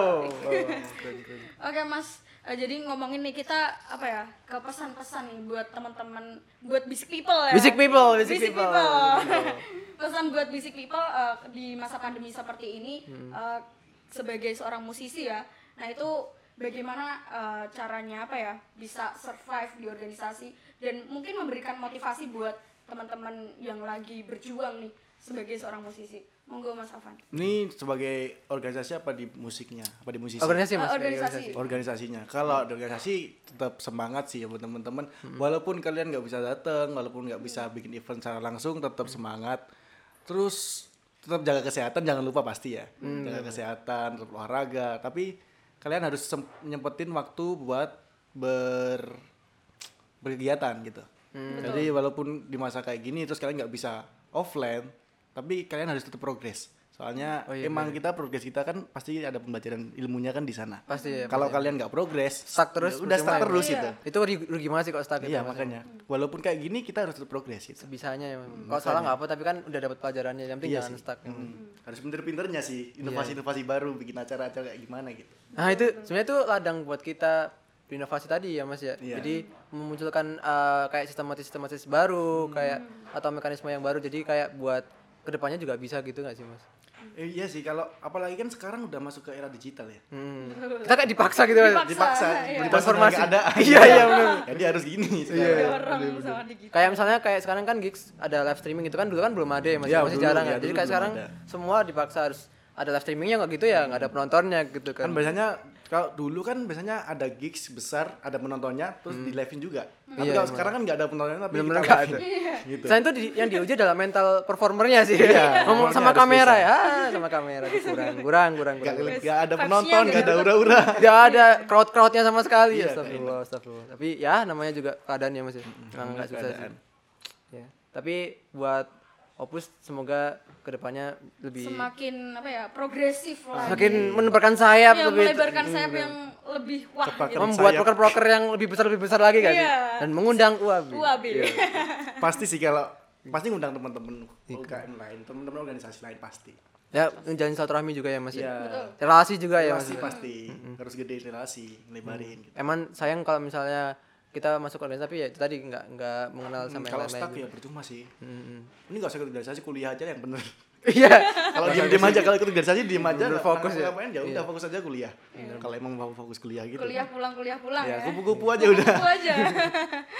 Oke Mas, Eh, jadi ngomongin nih kita apa ya ke pesan-pesan nih buat teman-teman buat basic people ya.
Basic people, basic
Basic
people.
pesan buat basic people eh, di masa pandemi seperti ini
Hmm.
eh, sebagai seorang musisi ya. Nah itu bagaimana eh, caranya apa ya bisa survive di organisasi dan mungkin memberikan motivasi buat teman-teman yang lagi berjuang nih sebagai seorang musisi. Monggo Mas Afan.
ini sebagai organisasi apa di musiknya apa di musisi
Organisasi Mas.
Eh,
kayak
organisasi.
organisasinya kalau di organisasi tetap semangat sih ya buat teman-teman walaupun kalian nggak bisa datang walaupun nggak bisa bikin event secara langsung tetap semangat terus tetap jaga kesehatan jangan lupa pasti ya jaga kesehatan tetap olahraga tapi kalian harus sem- nyempetin waktu buat ber berkegiatan gitu
Hmm.
jadi walaupun di masa kayak gini terus kalian nggak bisa offline tapi kalian harus tetap progres soalnya
Oh, iya,
emang kita progres kita kan pasti ada pembelajaran ilmunya kan di sana
Pasti ya,
kalau kalian nggak progres
Stuck terus,
ya udah stuck
percuma.
terus
Iya.
gitu
Itu rugi, rugi banget sih kalau stuck gitu.
iya
Mas.
makanya walaupun kayak gini kita harus tetap progres gitu
Sebisanya ya. Mas. Kalau salah nggak apa tapi kan udah dapat pelajarannya. Yang penting
Iya
jangan
sih.
stuck. ya, Mas.
Hmm. harus pinter-pinternya sih
Iya.
inovasi-inovasi baru bikin acara-acara kayak gimana gitu
Nah itu sebenarnya itu ladang buat kita berinovasi tadi ya mas ya.
Iya.
Jadi memunculkan eh, kayak sistematis-sistematis baru,
Hmm.
kayak atau mekanisme yang baru. Jadi kayak buat kedepannya juga bisa gitu nggak sih mas?
Eh, iya sih kalau apalagi kan sekarang udah masuk ke era digital ya
Hmm. Kita kayak dipaksa gitu mas.
Dipaksa.
dipaksa
Iya.
beli
Transformasi.
ada
Iya, iya, benar.
jadi harus gini
Iya,
sekarang.
iya.
Orang sama digital.
Kayak misalnya kayak sekarang kan gigs ada live streaming itu kan dulu kan belum ada ya mas,
Iya,
masih
dulu,
jarang
iya,
ya. Jadi
dulu
kayak
belum
sekarang
ada.
semua dipaksa harus ada live streamingnya nggak gitu ya, nggak ada penontonnya gitu kan.
kan biasanya kalau dulu kan biasanya ada gigs besar ada penontonnya terus di live juga
Hmm. Iya,
tapi kalau
emang.
sekarang kan nggak ada penontonnya tapi
Bener-bener
kita
nggak Iya.
live-in. gitu
Selain itu di- yang diuji adalah mental performernya sih.
Iya,
Ngomong
performernya
sama
harus
kamera ya, Ah, sama kamera itu kurang, kurang, kurang,
nggak
kurang.
nggak ada
Vibes-nya
penonton
nggak
nggak
gitu.
ada
dapat.
ura-ura
Gak ada crowd-crowdnya sama sekali.
Iya,
astagfirullah, astagfirullah. Tapi ya namanya juga keadaannya Mas ya. Emang nggak susah sih.
keadaan.
Ya. Tapi buat Opus semoga kedepannya lebih
semakin apa ya progresif lah
semakin menebarkan sayap
ya
lebih Iya.
melebarkan sayap yang lebih wah
Cepat.
gitu.
membuat
sayap.
broker-broker yang lebih besar lebih besar lagi kan
Iya.
dan mengundang UAB.
UAB
gitu.
pasti sih kalau pasti ngundang teman-teman
Iya.
UKM lain teman-teman organisasi lain pasti
Ya, menjalin silaturahmi juga ya Mas ya.
Betul.
Relasi juga ya Mas.
Iya. relasi pasti harus gede relasi lebarin gitu
Emang sayang kalau misalnya kita masuk organisasi tapi ya itu tadi nggak nggak mengenal sama yang
kalau
lain-lain. gitu.
stuck ya percuma sih ini nggak usah ikut organisasi kuliah aja yang bener
Iya.
kalau diem diem aja kalau ikut organisasi diem aja
Bener,
nggak-
fokus ya. Iya.
ngapain ya udah fokus aja kuliah kalau emang mau fokus kuliah gitu
kuliah pulang kuliah pulang
ya
ya,
kupu-kupu aja udah
Kupu aja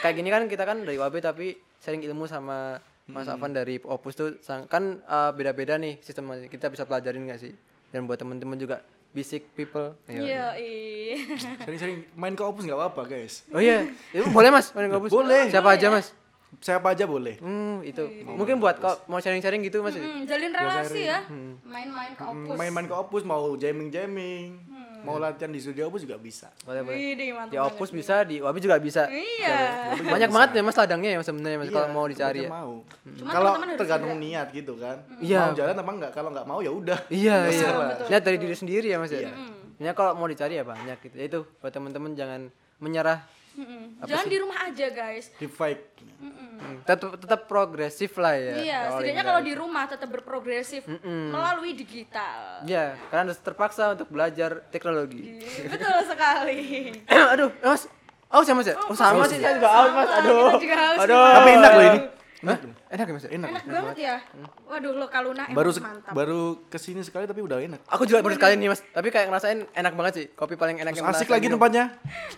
Kayak gini kan kita kan dari UAB tapi sharing ilmu sama Mas
Hmm.
Afan dari Opus tuh sang- kan uh, beda-beda nih sistemnya. Kita bisa pelajarin nggak sih? Dan buat temen-temen juga basic people. Iya.
iya ih.
sering-sering main ke opus nggak apa-apa guys
iya, Oh iya, itu boleh Mas main ke Opus? Boleh. Siapa aja Mas?
siapa aja boleh
Hmm, itu. Mungkin buat kok mau sharing-sharing gitu Mas.
Hmm, jalin relasi ya.
Hmm.
Main-main ke opus.
main-main ke opus mau jamming jamming
Hmm.
mau latihan di studio opus juga bisa
Boleh, boleh.
Widih,
ya?
mantap
Di
banget.
Opus bisa, di Wabi juga bisa.
Iya.
Banyak banget ya Mas ladangnya ya Mas sebenarnya Mas kalau
Iya,
mau dicari
tempatnya
ya.
mau
Cuma
kalau
teman-teman harus Hmm.
tergantung niat gitu kan
Iya.
mau jalan apa enggak kalau enggak mau ya udah
Iya,
Nggak
iya.
salah.
Lihat dari diri sendiri ya Mas ya.
Iya.
Ya kalau mau dicari ya banyak gitu. Ya itu buat teman-teman jangan menyerah.
Mm-mm. Hmm, Jangan di rumah aja, guys.
di fight
Hmm, Tetap tetap progresif lah ya.
Mm. Iya, setidaknya kalau di rumah tetap berprogresif melalui digital.
Iya, karena harus terpaksa untuk belajar teknologi.
Iya. Betul sekali.
Aduh, eh, Mas. Aus ya Mas ya? Oh, sama sih, saya juga aus Mas.
Sama,
Aduh.
kita juga aus,
Aduh.
Mas.
tapi enak loh ini
Hah? Enak ya Mas ya?
Enak banget ya. Waduh, lo kaluna emang
baru se-
mantap.
baru kesini sekali tapi udah enak
Aku juga baru sekali nih Mas, tapi kayak ngerasain enak banget sih. Kopi paling enak yang gitu. pernah
asik
saya
lagi
minum.
tempatnya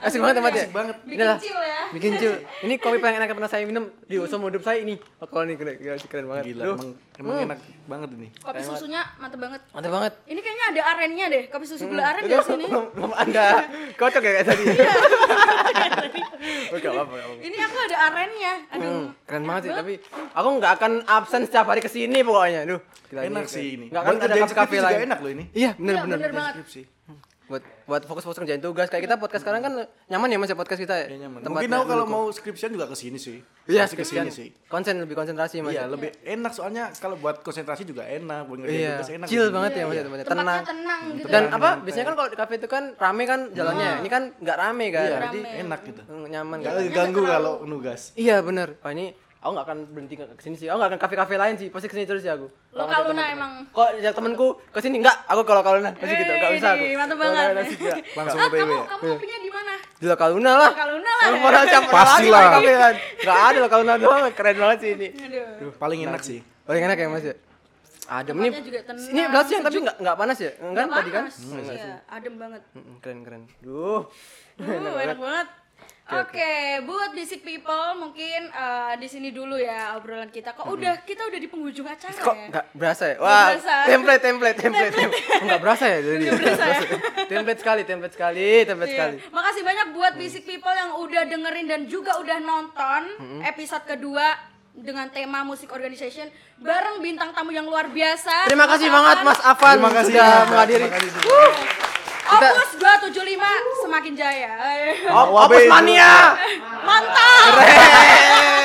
Asik banget tempatnya. Asik banget.
Iya. Bikin
Inilah.
chill ya.
Bikin chill. Ini kopi paling enak yang pernah saya minum di seumur hidup saya ini. Oh, kalau ini keren, gila sih, keren banget.
gila
Duh, Hmm.
emang, emang enak banget ini
Kopi susunya mantap banget.
Mantap banget.
Ini kayaknya ada arennya deh, kopi susu gula
Hmm.
aren ya di sini.
Belum, belum Anda kocok ya kayak tadi. Oke, apa apa.
Ini aku ada arennya. Aduh.
Hmm, Keren banget sih, tapi aku nggak akan absen setiap hari kesini pokoknya. Duh, gila,
enak
keren.
sih ini
Nggak akan
Buat
ada
kerjain
kafe-kafe
skripsi juga
lain.
enak loh ini
Iya, bener,
Iya,
bener.
bener banget.
skripsi
Buat buat fokus-fokus kerjain tugas. Kayak kita podcast sekarang kan nyaman ya Mas ya podcast kita ya?
Kayaknya Iya, nyaman.
Tempatnya
mungkin aku kalau
mendukung.
mau skripsian juga kesini sih
Iya,
Pasti kesini sih
konsen lebih konsentrasi Mas.
Iya, lebih enak soalnya kalau buat konsentrasi juga enak, buat ngerjain
Iya,
tugas enak.
chill
gitu.
banget ya Mas ya tempatnya.
Tempatnya
Tenang. Hmm,
tenang gitu.
Dan apa?
Iya,
Biasanya kan kalau di kafe itu kan rame kan jalannya. Ini kan nggak rame kan.
Iya,
Jadi
enak gitu.
mm, nyaman
Enggak
kan.
ganggu kalau nugas.
Iya, bener. Wah, ini aku nggak akan berhenti ke kesini sih. Aku nggak akan kafe-kafe lain sih. Pasti kesini terus ya aku.
Lo kaluna emang.
Kok ajak temanku kesini nggak? Aku kalau kaluna pasti gitu. Nggak bisa aku.
Wih, mantap
Kalau
banget.
Kaluna sih nggak.
Langsung
Ah,
OTW
E.
kamu
ya.
Hmm.
kamu kopinya di mana?
Di Lokaluna lah.
Lokaluna lah ya.
Orang siapa
Pasti
lagi kalau
lah.
kafe kan. Nggak ada Lokaluna doang. Keren banget sih ini.
Aduh.
Paling enak sih.
Paling enak ya Mas ya. Adem ini.
Tempatnya juga tenang,
Ini belas siang tapi nggak nggak panas ya? Kan tadi kan?
Panas. Iya, adem banget.
Mm, Keren keren. Duh.
Uh, enak banget. Oke, buat basic people mungkin eh, di sini dulu ya obrolan kita. Kok udah kita udah di penghujung acara
Hmm. Kok
ya?
nggak berasa ya? Wah,
berasa.
template, template, template, template. Kok nggak berasa ya jadi?
Nggak berasa ya?
template sekali, template sekali, template
Iya.
sekali.
Makasih banyak buat Basic People yang udah dengerin dan juga udah nonton episode kedua dengan tema Music Organization bareng bintang tamu yang luar biasa.
Terima kasih banget Mas Afan
Terima kasih
sudah
Mas.
menghadiri.
Terima kasih.
Opus 275 semakin jaya.
Op- Opus
Wabe.
mania.
Mantap.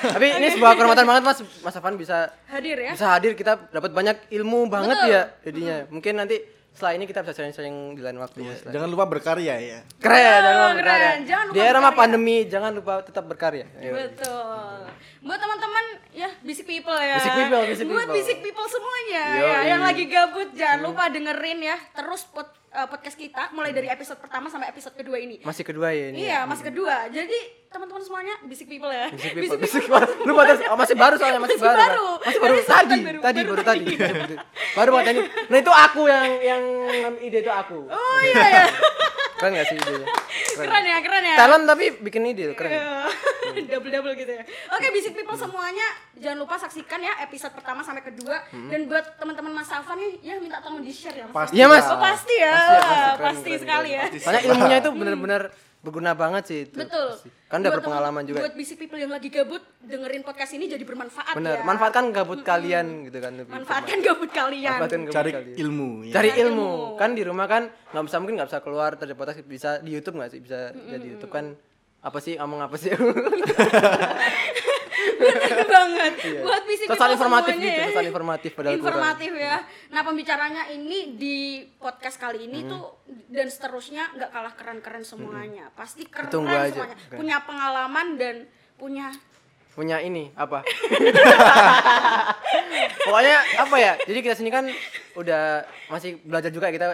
Tapi ini sebuah kehormatan banget Mas Mas Afan bisa
Hadir ya.
bisa hadir kita dapat banyak ilmu banget
Betul.
ya jadinya. Mungkin nanti setelah ini kita bisa sharing-sharing di lain waktu. Mas.
Iya, Jangan lupa berkarya ya.
Keren, jangan lupa
keren.
berkarya.
Jangan lupa
Di era mah
berkarya.
pandemi jangan lupa tetap berkarya. Ayo.
Betul. Buat teman-teman ya Basic People ya.
Basic People, Basic
Buat
People.
Basic People semuanya
Yoi.
ya yang lagi gabut jangan lupa dengerin ya terus pod- eh, podcast kita mulai dari episode pertama sampai episode kedua ini.
Masih kedua ya ini.
Iya, mas kedua. Jadi teman-teman semuanya basic people ya.
Basic people. Basic people. Lupa terus oh, masih baru soalnya masih,
Masih
baru.
baru.
Kan? Masih baru
Baru
tadi,
baru-
tadi
baru
baru tadi. baru banget ini. Nah, itu aku yang yang ide itu aku.
Oh iya ya.
Keren gak sih idenya?
keren ya, keren ya.
Talent tapi bikin ide loh,
Iya.
keren. Iya,
double double gitu ya. Oke, basic people
Hmm.
semuanya jangan lupa saksikan ya episode pertama sampai kedua
Hmm.
dan buat teman-teman Mas Afan nih ya minta tolong di-share ya. Mas.
Pasti.
Iya, Mas.
Oh, pasti ya.
Pasti,
Pasti,
pasti. Keren, keren,
sekali ya.
Soalnya ilmunya itu benar-benar berguna banget sih itu.
Betul.
Kan udah
Buat
berpengalaman
teman-
juga.
Buat basic people yang lagi gabut dengerin podcast ini jadi bermanfaat
Bener,
ya.
manfaatkan gabut kalian gitu kan lebih.
manfaatkan gabut kalian.
Manfaatkan gabut
Cari
kalian.
ilmu ya.
cari ilmu kan di rumah kan nggak bisa mungkin nggak bisa keluar terjepotas bisa di YouTube nggak sih bisa jadi YouTube kan apa sih ngomong apa sih
Bener banget. Buat basic people
pesan Iya. informatif
semuanya
gitu
ya.
pesan informatif padahal kurang
informatif ya. Nah pembicaranya ini di podcast kali ini
Hmm.
tuh dan seterusnya nggak kalah keren-keren semuanya. Pasti keren
Hmm. Ditunggu aja.
semuanya.
Keren.
Punya pengalaman dan punya
punya ini apa pokoknya apa ya jadi kita sini kan udah masih belajar juga kita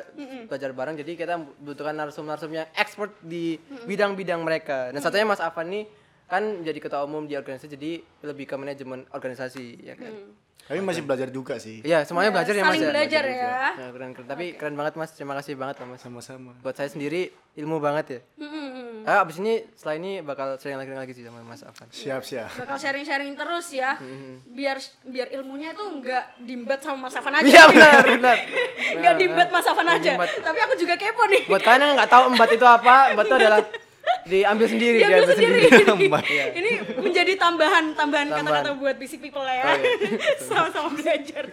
belajar bareng jadi kita butuhkan narsum-narsum yang expert di bidang-bidang mereka dan satunya Mas Afan nih kan jadi ketua umum di organisasi jadi lebih ke manajemen organisasi ya kan
Kami masih belajar juga sih.
Iya, semuanya belajar ya Mas.
Mm.
ya?
saling belajar ya.
Ya, keren, keren. Tapi keren banget Mas. Terima kasih banget Mas.
Sama-sama.
Buat saya sendiri ilmu banget ya.
Mm-mm.
Ah, abis ini setelah ini bakal sering lagi lagi sih sama Mas Afan.
Siap-siap.
bakal sharing-sharing terus ya
Hmm.
biar biar ilmunya tuh nggak dimbet sama Mas Afan aja
Iya benar, benar.
nggak dimbet Mas Afan aja
Diembat.
tapi aku juga kepo nih
Buat kalian yang nggak tahu embat itu apa, embat itu adalah diambil sendiri
Diambil sendiri.
Mbak.
Ini menjadi tambahan tambahan
Tambahan.
kata-kata buat basic people lah ya.
Oh, iya.
Sama-sama belajar.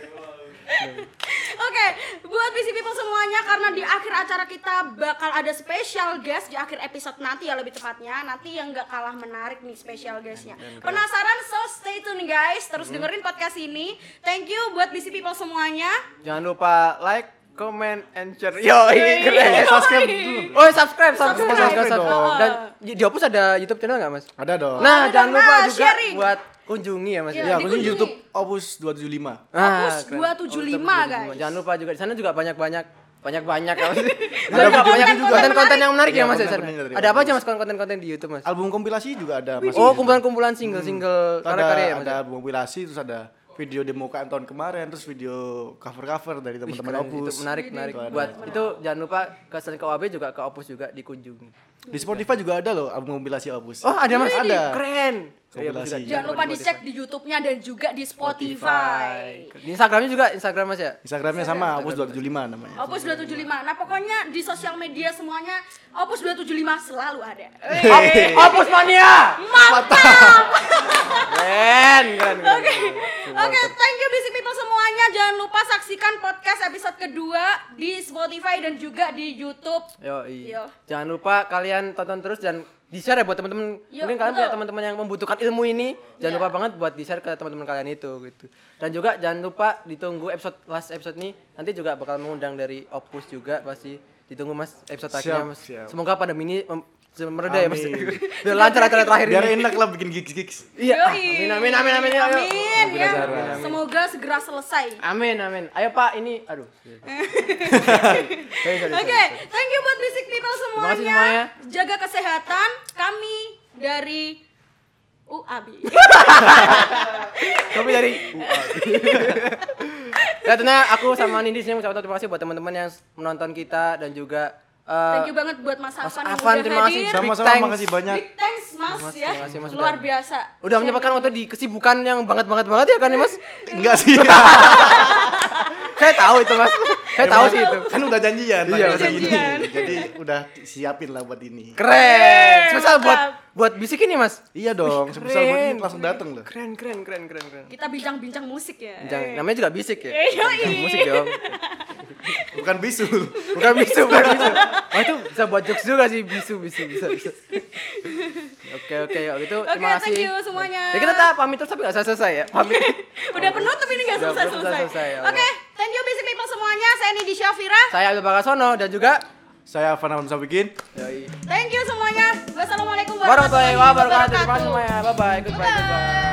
Oke, buat busy people semuanya karena di akhir acara kita bakal ada special guest di akhir episode nanti ya lebih tepatnya. Nanti yang nggak kalah menarik nih special guestnya. Penasaran? So stay tune guys, terus dengerin podcast ini. Thank you buat busy people semuanya.
Jangan lupa like, comment, and share. Yo, ini keren. ya.
Yoi.
subscribe dulu.
Oh, subscribe, subscribe,
Subscribe
subscribe, subscribe.
dong.
Dan di di Opus ada YouTube channel nggak mas?
Ada dong.
Nah,
ada
jangan
dong.
lupa
Nah,
juga
sharing.
buat kunjungi ya mas.
Iya.
Ya, kunjungi
dikunjungi.
YouTube Opus 275.
Ah,
Opus
keren. Opus
275, guys.
Jangan lupa juga di sana juga banyak-banyak banyak-banyak apa sih?
Ada
Banyak-
videonya
banyak
juga.
konten-konten yang menarik ya
Iya,
Mas ya di sana.
konten-konten yang menarik.
Ada apa aja Mas konten-konten di YouTube Mas?
Album kompilasi juga ada Mas.
Oh, kumpulan-kumpulan single-single
Terus ada,
karya-karya ya Mas.
iya. Hmm. ada album kompilasi terus ada video demokaan tahun kemarin terus video cover-cover dari
Wih,
teman-teman
keren,
Opus.
Itu menarik, menarik.
Itu ada.
Buat itu jangan lupa ke selain ke OAB juga ke Opus juga dikunjungi.
Di Spotify juga ada loh album kompilasi Opus.
Oh, ada Mas.
Ada.
Keren. Iya, Opus
Kompilasi.
juga.
Jangan
Jangan lupa dicek di YouTube-nya dan juga di Spotify.
Di Instagramnya juga Instagram Mas ya.
Instagramnya sama Opus 275 namanya.
Oh,
Opus 275. Nah, pokoknya di sosial media semuanya Opus 275 selalu ada.
Eh, Op- Opus mania.
Mantap.
Keren, keren. keren.
Oke. Oke, thank you busy people semuanya. Jangan lupa saksikan podcast episode kedua di Spotify dan juga di YouTube.
Yoi.
Yo.
Jangan lupa kalian tonton terus dan di-share ya buat teman-teman.
Yo,
Mungkin kalian
Iya, betul. Iya.
punya teman-teman yang membutuhkan ilmu ini, jangan lupa banget buat di-share ke teman-teman kalian itu gitu. Dan juga jangan lupa ditunggu episode last episode nih. Nanti juga bakal mengundang dari Opus juga pasti. Ditunggu Mas episode akhirnya Mas.
siap.
Semoga pandemi ini mem- mereda ya Mas.
Amin.
Biar lancar acara terakhir
Biar
ini.
enak lah bikin gigs-gigs.
Iya.
Yoi.
Amin amin amin amin. ayo.
Amin, ya.
Amin, amin.
Semoga segera selesai.
Amin amin. Ayo Pak, ini aduh. Sorry, sorry,
Oke,
sorry.
thank you buat Basic People semuanya.
Terima kasih
Jaga kesehatan. Kami dari UAB.
Tapi dari Ya tentunya aku sama Nindi sini mengucapkan terima kasih buat teman-teman yang menonton kita dan juga eh,
Thank you banget buat Mas Afan yang
Afan,
udah
terima kasih.
hadir.
Big
Sama-sama
thanks.
makasih banyak.
Big thanks Mas,
Mas,
ya.
terima kasih, Mas.
Luar biasa.
udah menyempatkan waktu di kesibukan yang banget banget banget ya kan ya, Mas?
Enggak sih.
Saya tahu itu Mas. Saya tahu sih itu. Iya,
Kan udah janjian. tanggal
udah
segini.
janjian.
Jadi udah siapin lah buat ini.
Keren. Spesial buat
mantap.
buat bisik ini Mas.
Iya dong, sebesar buat
keren.
ini langsung dateng loh.
Keren keren keren keren keren.
Kita bincang-bincang musik ya.
Jangan, namanya juga bisik ya.
Eh, yoi.
Bukan musik dong.
Bukan bisu.
Bukan bisu, bukan bisu. Wah itu bisa buat jokes juga sih bisu bisu bisa bisa. Oke oke kalau gitu
Oke,
terima kasih.
thank you semuanya.
Ya kita tak pamit terus tapi nggak selesai ya. Pamit.
Udah penutup ini gak
Udah penutup,
selesai-selesai.
udah selesai, ya.
Oke, thank you basic people semuanya. Saya Nidi Syafira.
Saya Abdul Bakasono dan juga
Saya Afan Hamzah bikin.
Thank you semuanya. Wassalamualaikum
warahmatullahi wabarakatuh. Terima kasih
wabarakatuh.
semuanya. Bye bye. Goodbye. Goodbye.